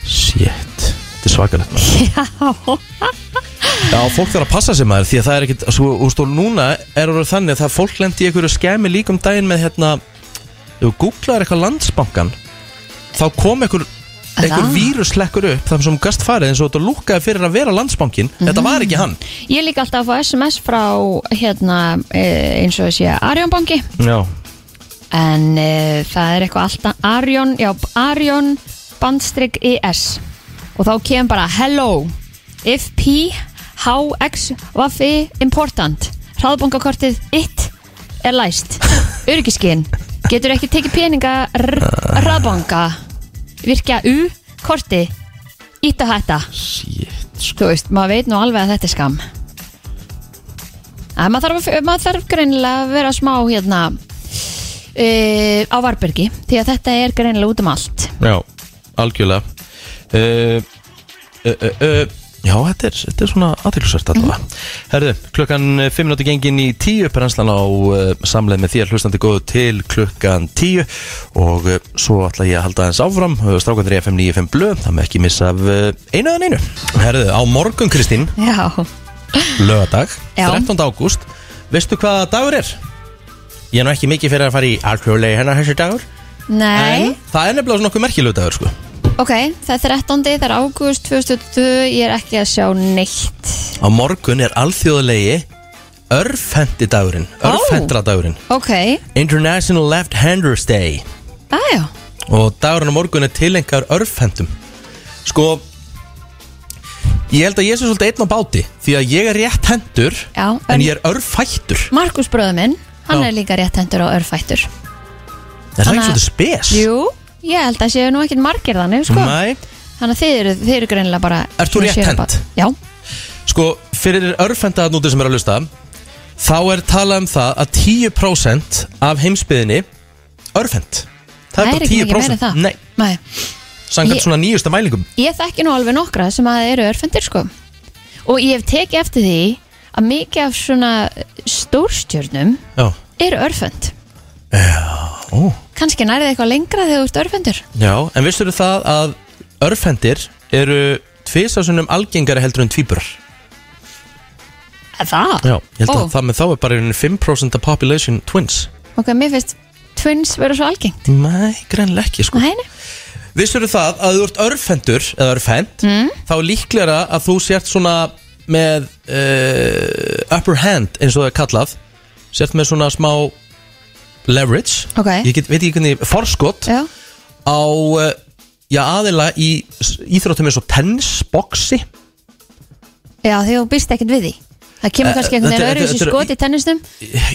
[SPEAKER 2] shit, þetta er svakalegt maður.
[SPEAKER 3] Já
[SPEAKER 2] Já, fólk þarf að passa sig maður því að það er ekkit, sko, þú veist, og núna er orðið þannig að það fólk lendi í einhverju skemi líka um daginn með hérna ef þú googlaðir eitthvað landsbankan þá kom einhver, einhver
[SPEAKER 3] Það?
[SPEAKER 2] víruslekkur upp þar sem þú gast farið eins og þetta lúkkaði fyrir að vera landsbankin þetta var ekki hann
[SPEAKER 3] Ég er líka alltaf að fá SMS frá hérna eh, eins og þessi Arjónbanki
[SPEAKER 2] Já,
[SPEAKER 3] en uh, það er eitthvað alltaf Arjón, já, Arjón bandstrygg ES og þá kemur bara hello if P HX Waffi important hraðbankakortið it er læst örgiskinn getur ekki tekið peninga r- hraðbanka virkja U korti ít og hætta þú veist, maður veit nú alveg að þetta er skam að maður þarf, að- maður þarf greinilega að vera smá hérna uh, á Varbergi því að þetta er greinilega út um allt
[SPEAKER 2] já, algjörlega uh, uh, uh, uh, Já, þetta er, þetta er svona aðtilsvært allavega
[SPEAKER 3] Mhm.
[SPEAKER 2] Herðu, klukkan 5 minúti gengin í 10 Brennslan á uh, samleið með þér hlustandi góðu til klukkan 10 Og uh, svo ætla ég að halda aðeins áfram uh, Strákandir í FM 95 blöð Það með ekki missa af uh, einu en einu Herðu, á morgun Kristín
[SPEAKER 3] Já,
[SPEAKER 2] Lögadag,
[SPEAKER 3] Já.
[SPEAKER 2] 13. ágúst Veistu hvaða dagur er? Ég er nú ekki mikið fyrir að fara í alþjóðlega hennar þessi dagur
[SPEAKER 3] nei,
[SPEAKER 2] En það er nefnilega svona okkur merkilegu dagur sko
[SPEAKER 3] ok það er 13. það er ágúst 2020 ég er ekki að sjá neitt
[SPEAKER 2] Á morgun er alþjóðlegi örfendi dagurinn Örfendra dagurinn
[SPEAKER 3] ok,
[SPEAKER 2] International Left Handers Day
[SPEAKER 3] aðjá,
[SPEAKER 2] Og dagurinn á morgun er tilengar örfendum Sko Ég held að ég sé svolítið einn á báti Því að ég er rétt hendur
[SPEAKER 3] já
[SPEAKER 2] En ég er örfættur
[SPEAKER 3] Markus bröðu minn, hann
[SPEAKER 2] Já.
[SPEAKER 3] er líka rétthendur og örfættur
[SPEAKER 2] Er það
[SPEAKER 3] Þannig
[SPEAKER 2] ekki
[SPEAKER 3] að-
[SPEAKER 2] svolítið spes?
[SPEAKER 3] jú, sko. ég held að séu nú ekkert margir þannig sko.
[SPEAKER 2] Nei.
[SPEAKER 3] þannig að þið eru, þið eru greinilega bara
[SPEAKER 2] Ert þú
[SPEAKER 3] svona séu
[SPEAKER 2] rétthent?
[SPEAKER 3] bara- já,
[SPEAKER 2] Sko, fyrir örfendaðan úti sem er að lusta Þá er talað um það að 10% af heimsbyðinni örfend Það
[SPEAKER 3] Það
[SPEAKER 2] er
[SPEAKER 3] er
[SPEAKER 2] bara
[SPEAKER 3] ekki mikið
[SPEAKER 2] 10%
[SPEAKER 3] meira en það.
[SPEAKER 2] Nei,
[SPEAKER 3] nei
[SPEAKER 2] samkvæmt
[SPEAKER 3] Ég-
[SPEAKER 2] svona nýjusta mælingum
[SPEAKER 3] Ég þekki nú alveg nokkra sem að eru örfendir sko og ég hef tekið eftir því að mikið af svona stórstjörnum
[SPEAKER 2] Já.
[SPEAKER 3] eru örfend
[SPEAKER 2] Ó.
[SPEAKER 3] kannski nærðið eitthvað lengra þegar þú ert örfendur
[SPEAKER 2] Já, en vissur það að örfendir eru tvisasunum algengari heldur en tvíburar
[SPEAKER 3] Er Það?
[SPEAKER 2] Já, ég held að
[SPEAKER 3] Ó.
[SPEAKER 2] það með þá er bara í rauninni 5% af population twins
[SPEAKER 3] Ok, mér finnst twins vera svo algengt
[SPEAKER 2] Nei, greinlega ekki sko
[SPEAKER 3] Nei, nei. Hmm?
[SPEAKER 2] Vissur það að þú ert örfendur eða örfend mm. þá er líklega að þú sért svona með uh, upper hand eins og það er kallað sért með svona smá leverage
[SPEAKER 3] Ok.
[SPEAKER 2] ég get, veit ekki hvernig, forskot
[SPEAKER 3] Já.
[SPEAKER 2] á uh, já, aðila í s- íþróttum eins og tennis, boxi
[SPEAKER 3] Já, því þú býst ekkert við því Það
[SPEAKER 2] Eh,
[SPEAKER 3] kemur kannski einhvern
[SPEAKER 2] þetta-
[SPEAKER 3] veginn öðru
[SPEAKER 2] þetta-
[SPEAKER 3] sem
[SPEAKER 2] þetta-
[SPEAKER 3] skot í tennisnum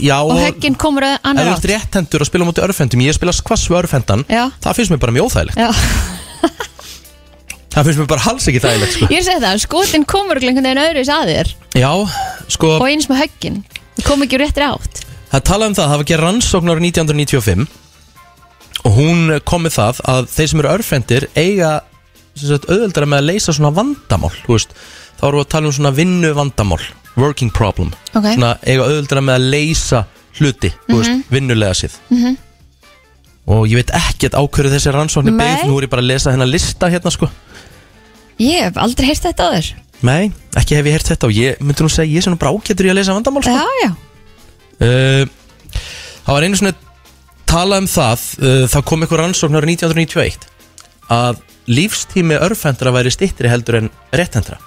[SPEAKER 2] já,
[SPEAKER 3] og högginn komur að
[SPEAKER 2] Ef
[SPEAKER 3] annar
[SPEAKER 2] þú
[SPEAKER 3] átt
[SPEAKER 2] ert rétthendur að spila á móti örfendum Ég spila skvass við örfendan
[SPEAKER 3] Já.
[SPEAKER 2] Það finnst mér bara mjög óþægilegt
[SPEAKER 3] Já,
[SPEAKER 2] Það finnst mér bara hals ekki þægilegt sko.
[SPEAKER 3] ég er að segja það, skotinn komur einhvern veginn öðru sem að þér
[SPEAKER 2] Já, sko
[SPEAKER 3] og eins með högginn, það kom ekki úr réttri átt
[SPEAKER 2] Það tala um það, það var gerð rannsókn árið 1995 og hún eh, kom með það að þeir sem eru örfendir eiga sem sagt, auðveldara með að leysa svona vandamál þú veist, þá erum við að tala um svona vinnu vandamál working problem
[SPEAKER 3] Ok.
[SPEAKER 2] svona eiga auðveldara með að leysa hluti, þú veist, vinnulega síð
[SPEAKER 3] Mhm.
[SPEAKER 2] og ég veit ekkert á hverju þessi rannsóknir
[SPEAKER 3] Nei.
[SPEAKER 2] beigð nú er ég bara að lesa hennar lista hérna sko
[SPEAKER 3] Ég hef aldrei heyrt þetta áður
[SPEAKER 2] nei, ekki hef ég heyrt þetta og ég myndi nú segja ég sem bara ágætur í að lesa vandamál sko
[SPEAKER 3] Já, já
[SPEAKER 2] Uh, Það var einu svona talað um það uh, Það kom eitthvað rannsókn árið 1991 Að lífstími örfhendra væri stittri heldur en rétthendra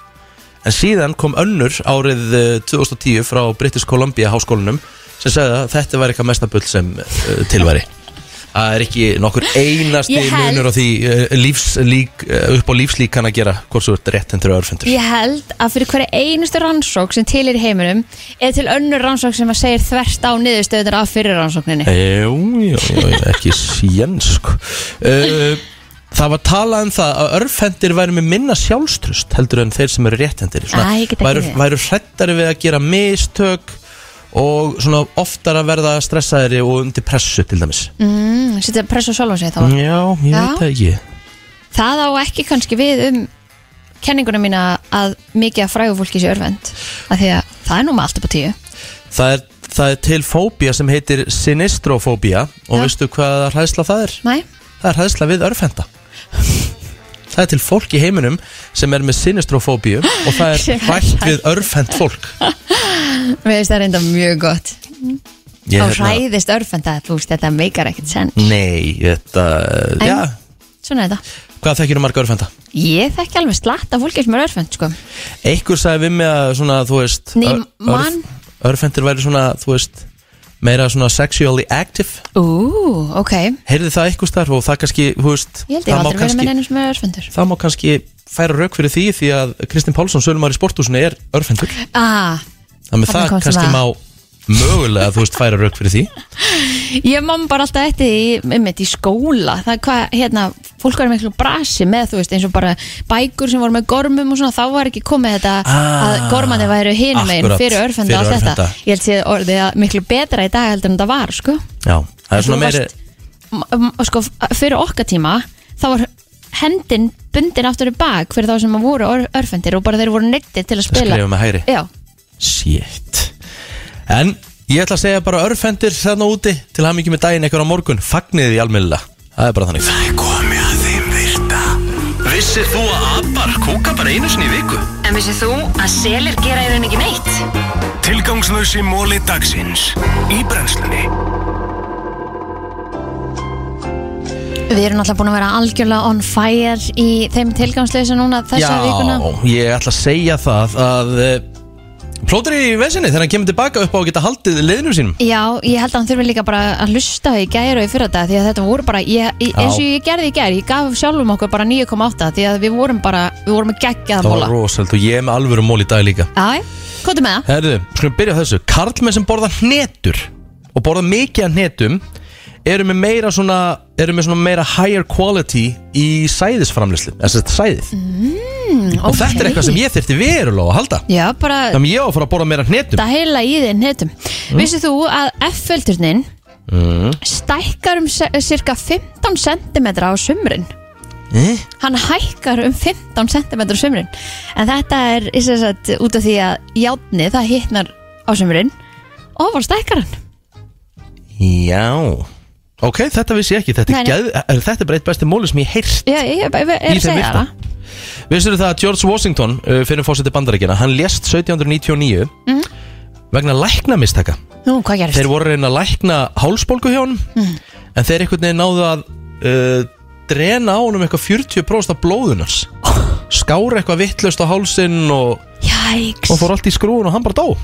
[SPEAKER 2] En síðan kom önnur árið uh, 2010 frá British Columbia háskólanum Sem sagði að þetta væri eitthvað mesta bull sem uh, tilværi Það er ekki nokkur einasti
[SPEAKER 3] Ég held-
[SPEAKER 2] munur á því uh, lífslík, uh, upp á lífslíkan að gera hvort þú ert rétthendur og örfhendur
[SPEAKER 3] Ég held að fyrir hverja einustu rannsók sem til er í heiminum eða til önnur rannsók sem að segir þvert á niðurstöðunar af fyrir rannsókninni
[SPEAKER 2] Jú, jú, jú, ekki síðan sko. uh, Það var talað um það að örfhendir væri með minna sjálfstrust heldur en þeir sem eru rétthendir
[SPEAKER 3] Æ, ég get ekki
[SPEAKER 2] væru,
[SPEAKER 3] við.
[SPEAKER 2] væru hrættari við að gera mistök og svona oftar að verða stressaðri og undir pressu til dæmis
[SPEAKER 3] mm, Sittu að pressa sjálf á sig þá
[SPEAKER 2] Já, ég
[SPEAKER 3] Já.
[SPEAKER 2] veit það ekki
[SPEAKER 3] Það á ekki kannski við um kenninguna mína að mikið að frægu fólki sé örvend af því að það er nú með allt upp á tíu
[SPEAKER 2] Það er, það er til fóbía sem heitir sinistrofóbía og veistu hvað hræðsla það er?
[SPEAKER 3] Nei
[SPEAKER 2] Það er hræðsla við örfenda Það er til fólk í heiminum sem er með sinistrofóbíu og það er
[SPEAKER 3] Sem er
[SPEAKER 2] hrætt við örfend fólk
[SPEAKER 3] Mér finnst það reynda mjög gott
[SPEAKER 2] Ég
[SPEAKER 3] Og
[SPEAKER 2] hérna-
[SPEAKER 3] hræðist örvend að þú veist þetta meikar ekkert senn
[SPEAKER 2] Nei, þetta,
[SPEAKER 3] En-
[SPEAKER 2] já,
[SPEAKER 3] Svona er þetta
[SPEAKER 2] hvað þekkir um marga örfenda?
[SPEAKER 3] Ég þekki alveg slatt af fólki sem er örvend sko
[SPEAKER 2] Einhver sagði við mig að svona, þú veist
[SPEAKER 3] Ný mann.
[SPEAKER 2] Örfendir væri svona, þú veist, meira svona sexually active
[SPEAKER 3] Ú, ok
[SPEAKER 2] Heyrði það einhvers þar og það kannski, þú veist
[SPEAKER 3] Ég held ég
[SPEAKER 2] það
[SPEAKER 3] hef
[SPEAKER 2] má
[SPEAKER 3] aldrei verið með
[SPEAKER 2] kannski-
[SPEAKER 3] neinum sem er örvendur
[SPEAKER 2] það má kannski færa rauk fyrir því því að Kristinn Pálsson sölumar í sporthúsinu er örfendur
[SPEAKER 3] ah,
[SPEAKER 2] þannig að
[SPEAKER 3] Þarna
[SPEAKER 2] það
[SPEAKER 3] komst
[SPEAKER 2] kannski
[SPEAKER 3] það.
[SPEAKER 2] má mögulega þú veist færa rauk fyrir því
[SPEAKER 3] Ég man bara alltaf eftir því einmitt í skóla það er hvað, hérna, fólk var með miklu brasi með þú veist, eins og bara bækur sem voru með gormum og svona, þá var ekki komið þetta
[SPEAKER 2] Ah,
[SPEAKER 3] að gormandi væru hinum einn
[SPEAKER 2] akkurat,
[SPEAKER 3] fyrir örfenda
[SPEAKER 2] fyrir
[SPEAKER 3] og allt þetta
[SPEAKER 2] örvhenda.
[SPEAKER 3] Ég held sé orðið að miklu betra í dag heldur en þetta var, sko
[SPEAKER 2] já, það er svona
[SPEAKER 3] Þú
[SPEAKER 2] meiri
[SPEAKER 3] varst- M- m- og sko, f- fyrir okkar tíma þá var hendin bundin aftur í bak fyrir þá sem að voru or- örfendir og bara þeir voru neittir til að spila
[SPEAKER 2] skrifa með hægri.
[SPEAKER 3] Já,
[SPEAKER 2] shit en ég ætla að segja bara örfendur þarna úti til hann ekki með daginn eitthvað á morgun fagnið því almennilega, það er bara þannig það er komið að þeim virta
[SPEAKER 11] Vissir þú að abar kúka bara einu sinni í viku?
[SPEAKER 12] En vissið þú að selir gera í rauninni ekki neitt?
[SPEAKER 11] Tilgangslösi móli dagsins í brennslunni
[SPEAKER 3] við erum alltaf búin að vera algjörlega on fire í þeim tilgangsleisa núna þessa vikuna
[SPEAKER 2] já, ég ætla að segja það að eh, plótur í vesinni þegar hann kemur tilbaka upp á að geta haldið liðnum sínum
[SPEAKER 3] Já, ég held að hann þurfi líka bara að lusta í gæri og í fyrir þetta því að þetta voru bara, ég, ég-
[SPEAKER 2] Já.
[SPEAKER 3] eins og ég gerði í gæri ég gaf sjálfum okkur bara 9,8 því að við vorum bara, við vorum að gegja það
[SPEAKER 2] það var
[SPEAKER 3] móla
[SPEAKER 2] rosald og ég er með alvöru mól í dag líka
[SPEAKER 3] Já, hvað er með það?
[SPEAKER 2] Herðu, skulum byrja á þessu Karlmenn sem borða hnetur og borða mikið af hnetum eru með meira svona eru með svona meira higher quality í sæðisframlislu, þess að sæðið
[SPEAKER 3] Mm,
[SPEAKER 2] og þetta er eitthvað sem ég þyrfti verulega að halda
[SPEAKER 3] Já, bara,
[SPEAKER 2] þannig ég á að fara að borða meira af hnetum
[SPEAKER 3] þetta heila í þinn hittum mm. Vissið þú að F-földurnin
[SPEAKER 2] mm.
[SPEAKER 3] stækkar um se- cirka 15 cm á sumrin
[SPEAKER 2] Eh?
[SPEAKER 3] hann hækkar um 15 cm á sumrin en þetta er í sem sagt, út af því að játni það hittnar á sumrin og var stækkar hann
[SPEAKER 2] Já Ok, þetta vissi ég ekki, þetta
[SPEAKER 3] Nei,
[SPEAKER 2] er,
[SPEAKER 3] nei.
[SPEAKER 2] geð, er, þetta er bara eitt besti móli sem ég heyrst
[SPEAKER 3] Já, ég ég- ég-
[SPEAKER 2] Í
[SPEAKER 3] ég er að
[SPEAKER 2] þeim
[SPEAKER 3] segja
[SPEAKER 2] virta.
[SPEAKER 3] það
[SPEAKER 2] Vissirðu það að George Washington, uh, fyrir fórseti bandaríkina hann lést 1799
[SPEAKER 3] Mhm.
[SPEAKER 2] vegna læknamistaka
[SPEAKER 3] Nú, hvað gerist?
[SPEAKER 2] Þeir voru að reyna að lækna hálsbólgu hjá honum
[SPEAKER 3] Mm.
[SPEAKER 2] En þeir einhvern veginn náðu að uh, Drena á honum eitthvað 40% af blóðunars Skára eitthvað vittlust á hálsinn og,
[SPEAKER 3] Jæks
[SPEAKER 2] og fór allt í skrúun og hann bara dó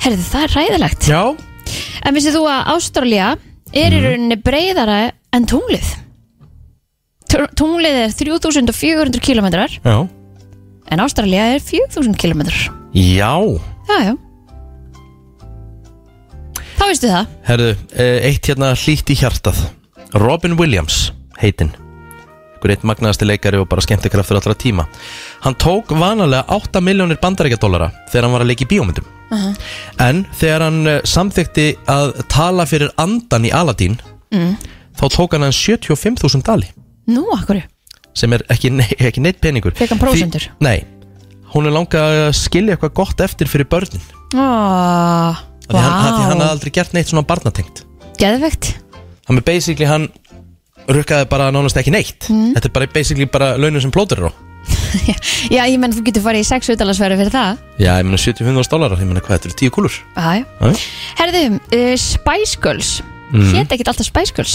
[SPEAKER 3] Herðu, það er ræðilegt
[SPEAKER 2] Já Mhm.
[SPEAKER 3] En vissið þú að Ástralja er í rauninni breyðara en tunglið Tu- Tunglið er 3400 kilometrar
[SPEAKER 2] Já
[SPEAKER 3] En Ástralja er 4000 km
[SPEAKER 2] Já
[SPEAKER 3] Já, já Þá veistu það
[SPEAKER 2] Herðu, uh, eitt hérna hlýtt í hjartað Robin Williams heitinn Einhver eitt magnaðasti leikari og bara skemmtikraftur allra tíma Hann tók vanalega 8 miljónir bandaríkjadólara þegar hann var að leika í bíómyndum En þegar hann eh, samþykti að tala fyrir andan í Aladdin
[SPEAKER 3] mm.
[SPEAKER 2] þá tók hann hann 75.000 dali
[SPEAKER 3] Nú, akkur
[SPEAKER 2] sem er ekki, ne ekki neitt peningur
[SPEAKER 3] Fekk hann prósentur?
[SPEAKER 2] Því- Nei, hún er langað að skilja eitthvað gott eftir fyrir börnin
[SPEAKER 3] oh,
[SPEAKER 2] Af því hann, af því hann
[SPEAKER 3] Vá
[SPEAKER 2] hafði aldrei gert neitt svona barnatengt
[SPEAKER 3] Geðvegt
[SPEAKER 2] Hann er basically hann rukkaði bara nánast ekki neitt
[SPEAKER 3] Mm.
[SPEAKER 2] Þetta er bara basically bara launum sem plótur er á
[SPEAKER 3] Já, ég menn þú getur farið í sex utalansverði fyrir það
[SPEAKER 2] Já, ég meina 75.000 dólarar, ég meina hvað þetta eru 10 kúlur
[SPEAKER 3] Æ.
[SPEAKER 2] Æ?
[SPEAKER 3] Herðu, uh, Spice Girls
[SPEAKER 2] Mm.
[SPEAKER 3] Hét ekkert alltaf Spice Girls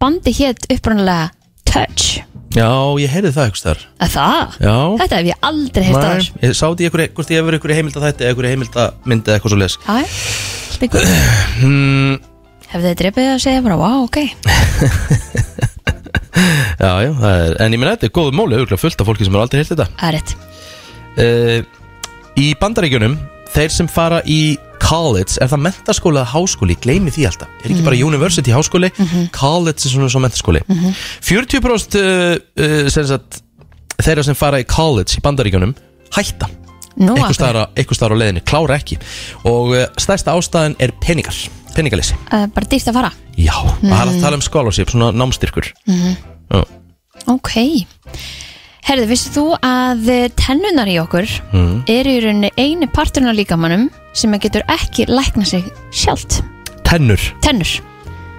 [SPEAKER 3] Bandi hét upprunalega Touch
[SPEAKER 2] Já, ég heyrði það eitthvað þar
[SPEAKER 3] Að það?
[SPEAKER 2] Já
[SPEAKER 3] Þetta hef ég aldrei heyrt
[SPEAKER 2] Nei,
[SPEAKER 3] aður
[SPEAKER 2] Ég sá því einhverju, hvort ég hefur einhverju heimild að þetta einhverju heimild að myndi eða eitthvað svo les
[SPEAKER 3] Æ, alltaf góð
[SPEAKER 2] Hmm.
[SPEAKER 3] Hefði þið drepið að segja bara, wow, ok
[SPEAKER 2] Já, já, það er, en ég meina þetta er góð móli auðvitað fullt af fólki sem er aldrei heyrt þetta
[SPEAKER 3] Það er rétt
[SPEAKER 2] uh, Í bandaríkjunum, þeir sem fara í college, er það mentaskóla eða háskóli, gleymi því alltaf er ekki
[SPEAKER 13] Mm.
[SPEAKER 2] bara university háskóli, college er svona svo mentaskóli
[SPEAKER 13] Mhm.
[SPEAKER 2] 40% uh, uh, sem sagt, þeirra sem fara í college í bandaríkjunum hætta
[SPEAKER 3] Nú,
[SPEAKER 2] Einhvers
[SPEAKER 3] af hverju?
[SPEAKER 2] staðar á- einhvers staðar á leiðinni, klára ekki og uh, stærsta ástæðan er peningar peningalisi,
[SPEAKER 3] uh, Bara dýrt að fara
[SPEAKER 2] já, mm.
[SPEAKER 3] Mm.
[SPEAKER 2] það er að tala um scholarship svona námstyrkur
[SPEAKER 3] Mhm.
[SPEAKER 2] Já.
[SPEAKER 3] Ok Herðu, vissið þú að tennunar í okkur
[SPEAKER 2] Mm.
[SPEAKER 3] eru í rauninni eini parturinn af líkamannum sem að getur ekki lækna sig sjálft
[SPEAKER 2] tennur
[SPEAKER 3] Tennur,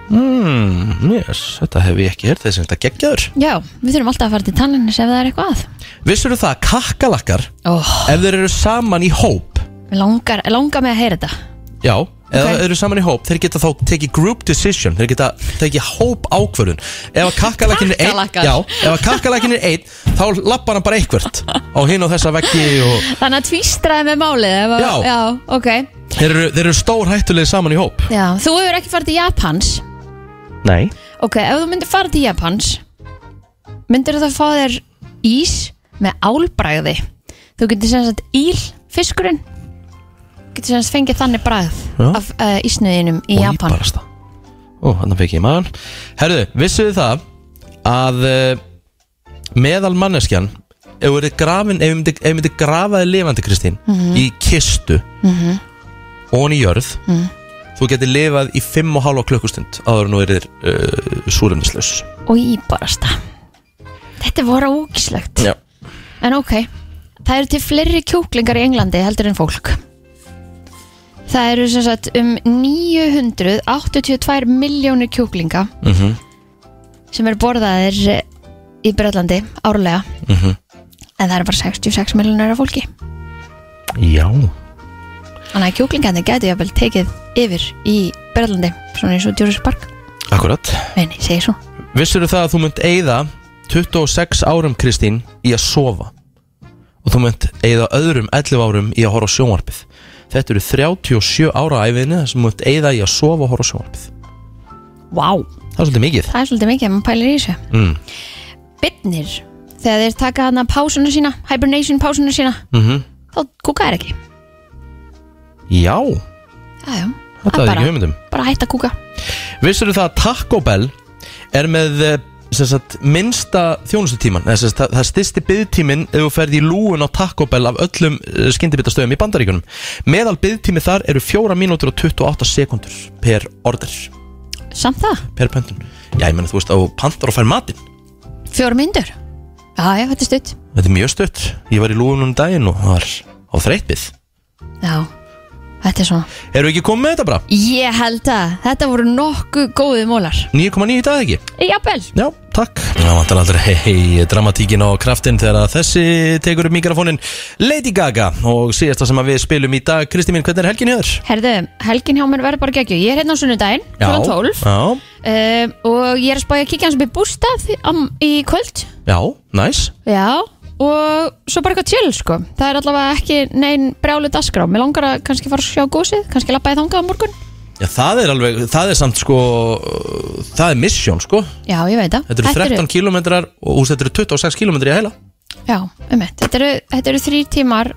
[SPEAKER 2] mm, yes, þetta hef ég ekki hert þess að þetta geggjaður
[SPEAKER 3] já, við þurfum alltaf að fara til tanninnis ef það er eitthvað að
[SPEAKER 2] vissur þú það að kakkalakkar
[SPEAKER 3] oh,
[SPEAKER 2] ef þeir eru saman í hóp
[SPEAKER 3] langar, langar mig að heyra þetta
[SPEAKER 2] já, ef þeir eru saman í hóp þeir geta þá tekið group decision þeir geta tekið hóp ákvörðun ef að kakkalakin er
[SPEAKER 3] Kakkalakkar.
[SPEAKER 2] einn já, ef að kakkalakin er einn þá lappar hann bara eitthvert á hinn og þessa veggi og
[SPEAKER 3] Þannig að tvístraði með málið ef að,
[SPEAKER 2] Já.
[SPEAKER 3] já, ok
[SPEAKER 2] þeir eru, þeir eru stór hættulegi saman í hóp
[SPEAKER 3] já, Þú hefur ekki farið til Japans
[SPEAKER 2] nei
[SPEAKER 3] Ok, ef þú myndir fara til Japans myndir þú þá fá þér ís með álbræði Þú getur sem sagt íl fiskurinn getur sem sagt fengið þannig bræð
[SPEAKER 2] Já.
[SPEAKER 3] af uh, ísnöðinum í
[SPEAKER 2] Og
[SPEAKER 3] Japan
[SPEAKER 2] íbarasta. Ó, hann fekk ég maður Herðu, vissuðu það að uh, meðal manneskjan ef við grafin, ef við myndi, ef við myndi grafaði lifandi Kristín
[SPEAKER 13] Mhm.
[SPEAKER 2] í kistu
[SPEAKER 13] Mhm.
[SPEAKER 2] og hann í jörð
[SPEAKER 13] Mhm.
[SPEAKER 2] þú getur lifað í 5 og hálfa klukkustund áður en þú erir uh, súrefnislaus
[SPEAKER 3] og íbarasta Þetta voru ógislegt
[SPEAKER 2] Já
[SPEAKER 3] En ok, það eru til fleiri kjúklingar í Englandi heldur en fólk. Það eru sem sagt um 982 miljónir kjúklinga
[SPEAKER 2] mm -hmm.
[SPEAKER 3] sem eru borðaðir í Bretlandi árlega en það eru bara 66 miljónir af fólki.
[SPEAKER 2] Já
[SPEAKER 3] Þannig að kjúklingandi gæti jafnvel tekið yfir í Bretlandi, svona eins og Jurassic Park.
[SPEAKER 2] Akkurat
[SPEAKER 3] Nei, nei, segi svo.
[SPEAKER 2] Vissirðu það að þú munt eigða 26 árum Kristín í að sofa og þú munt eigða öðrum 11 árum í að horfa á sjónvarpið Þetta eru 37 ára æfinni þar sem þú munt eigða í að sofa og horfa á sjónvarpið
[SPEAKER 3] Vá! Wow.
[SPEAKER 2] Það er svolítið mikið
[SPEAKER 3] Það er svolítið mikið að maður pælir í þessu.
[SPEAKER 2] mm.
[SPEAKER 3] Bitnir, þegar þeir taka hana pásuna sína, hibernation pásuna sína,
[SPEAKER 2] Mm
[SPEAKER 3] þá kúka er ekki.
[SPEAKER 2] Já,
[SPEAKER 3] Já, já.
[SPEAKER 2] þetta er ekki hugmyndum
[SPEAKER 3] Bara hætt að kúka.
[SPEAKER 2] Vissirðu það að Taco Bell er með eh, sem sagt, minnsta þjónustutíman eða sem sagt, það, það styrsti byggtímin ef þú ferð í lúun á Taco Bell af öllum skyndibittastöðum í bandaríkunum meðal byggtími þar eru 4 mínútur og 28 sekundur per order
[SPEAKER 3] Samt það?
[SPEAKER 2] per pöntun já ég menna þú veist á pantar og fær matinn
[SPEAKER 3] Fjórum myndur? Já, já, þetta er stutt
[SPEAKER 2] þetta er mjög stutt ég var í lúun um daginn og það var á þreytbið
[SPEAKER 3] Já, þetta er svona
[SPEAKER 2] eru ekki komið með þetta bara
[SPEAKER 3] Ég held að þetta voru nokkuð góðið mólar
[SPEAKER 2] 9,9 í dag ekki
[SPEAKER 3] Jafnvel
[SPEAKER 2] Já, takk Það vantar aldrei hei, hei, dramatíkin og kraftin þegar að þessi tekur upp mikrofónin Lady Gaga og síðasta sem að við spilum í dag Kristi mín, hvernig er helgin hjá þér?
[SPEAKER 3] Herðu, helgin hjá mér verður bara geggju Ég er hérna á sunnudaginn, frá 12 uh,
[SPEAKER 2] Já,
[SPEAKER 3] Og ég er að spája að kíkja hans upp í bústað í, am, í kvöld
[SPEAKER 2] já, næs
[SPEAKER 3] Já, og svo bara eitthvað chill sko Það er allavega ekki neinn brjálu dasgrá Mér langar að kannski fara að sjá gósið Kannski labbaði þangað á morgun
[SPEAKER 2] Já, það er alveg, það er samt sko uh, Það er misjón sko
[SPEAKER 3] Já, ég veit það
[SPEAKER 2] Þetta eru 13 kilometrar og úst, þetta eru 26 kilometrar í að heila
[SPEAKER 3] Já, um Þetta eru, þetta eru þrý tímar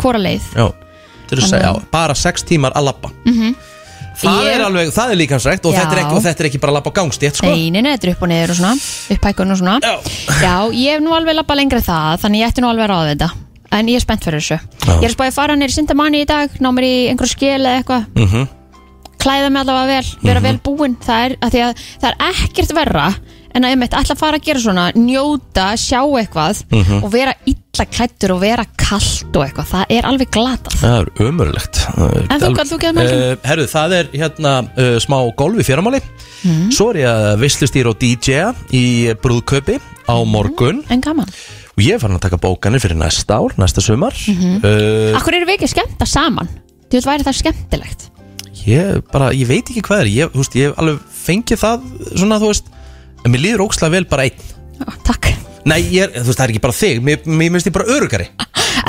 [SPEAKER 3] hvora leið
[SPEAKER 2] Já, þetta eru se-
[SPEAKER 3] Þannig
[SPEAKER 2] já,
[SPEAKER 3] að-
[SPEAKER 2] bara 6 tímar að labba
[SPEAKER 3] mm
[SPEAKER 2] Það
[SPEAKER 3] Ég-
[SPEAKER 2] er alveg, það er líkansrækt og,
[SPEAKER 3] Já.
[SPEAKER 2] þetta er ekki- og þetta er ekki bara að labba á gangstétt sko
[SPEAKER 3] Nei, nei, nei, þetta er upp og niður og svona Upphækun og svona Já, ég hef nú alveg lappa lengra það Þannig ég ætti nú alveg að ráða þetta En ég er spennt fyrir þessu
[SPEAKER 2] Já.
[SPEAKER 3] Ég er spáðið að fara nýr sindamanni í dag Ná mér í einhver skil eða eitthvað
[SPEAKER 2] mm -hmm.
[SPEAKER 3] Klæða mig allavega vel,
[SPEAKER 2] Mhm.
[SPEAKER 3] vera vel búin Það er, að því að, það er ekkert verra En að einmitt ætla að fara að gera svona Njóta, sjá eitthvað
[SPEAKER 2] Mhm.
[SPEAKER 3] Og vera illa klættur og vera kalt og eitthvað, það er alveg glatað
[SPEAKER 2] Það er ömurlegt
[SPEAKER 3] En þú- hvað þú gerðir með helgina?
[SPEAKER 2] Eh, Herru, það er hérna uh, smá golf í fyrramáli
[SPEAKER 3] Mhm.
[SPEAKER 2] Svo er ég að veistlustýra og DJ-a í brúðkaupi á
[SPEAKER 3] Mhm.
[SPEAKER 2] morgun
[SPEAKER 3] En gaman
[SPEAKER 2] Og ég er farin að taka bókanir fyrir næsta ár, næsta sumar
[SPEAKER 3] Mhm.
[SPEAKER 2] uh,
[SPEAKER 3] Akkur eru við ekki að skemmta saman? Þú veit, væri það skemmtilegt
[SPEAKER 2] Ég bara, ég veit ekki hvað er Ég, þú veist, ég hef alveg fengið það svona, þú veist En mér líður ókslega vel bara einn Takk Nei, ég, er- þú veist, það er ekki bara þig Mér, mér minnst ég bara örugari
[SPEAKER 3] Ah.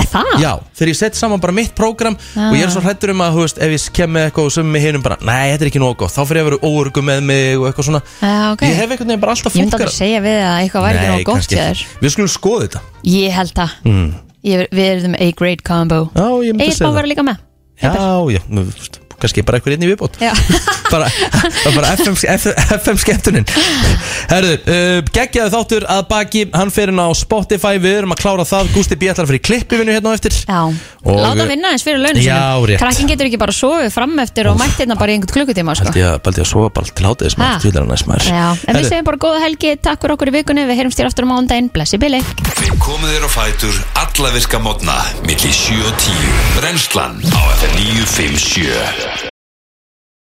[SPEAKER 3] Það?
[SPEAKER 2] Já, þegar ég sett saman bara mitt prógram
[SPEAKER 3] Ah.
[SPEAKER 2] og ég er svo hrættur um að, þú veist, ef ég kem með eitthvað og sem með hinum bara, nei, þetta er ekki nóg gott þá fyrir ég að vera óörgu með mig og eitthvað svona
[SPEAKER 3] Já, Eh, ok
[SPEAKER 2] Ég hef einhvern veginn bara alltaf
[SPEAKER 3] Ég myndi
[SPEAKER 2] fólkar-
[SPEAKER 3] aldrei segja við að eitthvað væri ekki
[SPEAKER 2] Nei,
[SPEAKER 3] nóg gott
[SPEAKER 2] kannski
[SPEAKER 3] hjá
[SPEAKER 2] ekki.
[SPEAKER 3] þér
[SPEAKER 2] Við skulum skoða þetta
[SPEAKER 3] Ég held það
[SPEAKER 2] mm.
[SPEAKER 3] ég, Við erum a great combo
[SPEAKER 2] Já, ég myndi
[SPEAKER 3] Egil
[SPEAKER 2] segja
[SPEAKER 3] má
[SPEAKER 2] það.
[SPEAKER 3] vera líka með
[SPEAKER 2] Já, já, nú, þú veist, kannski bara eitthvað inn í viðbót
[SPEAKER 3] Já.
[SPEAKER 2] bara, það er bara FM, FM, FM skemmtunin Herðu, uh, geggjaðu þáttur að baki hann fyrir inn á Spotify, við erum að klára það Gústi B. ætlar að fyrir klippivinu hérna á eftir
[SPEAKER 3] Já,
[SPEAKER 2] og,
[SPEAKER 3] Láta vinna eins fyrir launum
[SPEAKER 2] Já,
[SPEAKER 3] sínum.
[SPEAKER 2] rétt.
[SPEAKER 3] Krakkin getur ekki bara sofið fram eftir og mætti hérna bara í einhvern klukkutíma sko.
[SPEAKER 2] Baldi að, baldi að sofa bara til hátis
[SPEAKER 3] Ha.
[SPEAKER 2] maður, til hann næst maður
[SPEAKER 3] Já, en við
[SPEAKER 2] Herðu,
[SPEAKER 3] segjum bara góða helgi, takk fyrir okkur í vikunni Við heyrumst þér aftur á mándaginn, blessi Billy
[SPEAKER 1] Við komum þér á fætur alla virka mótna millir 7 og 10 Brennslan á FM 957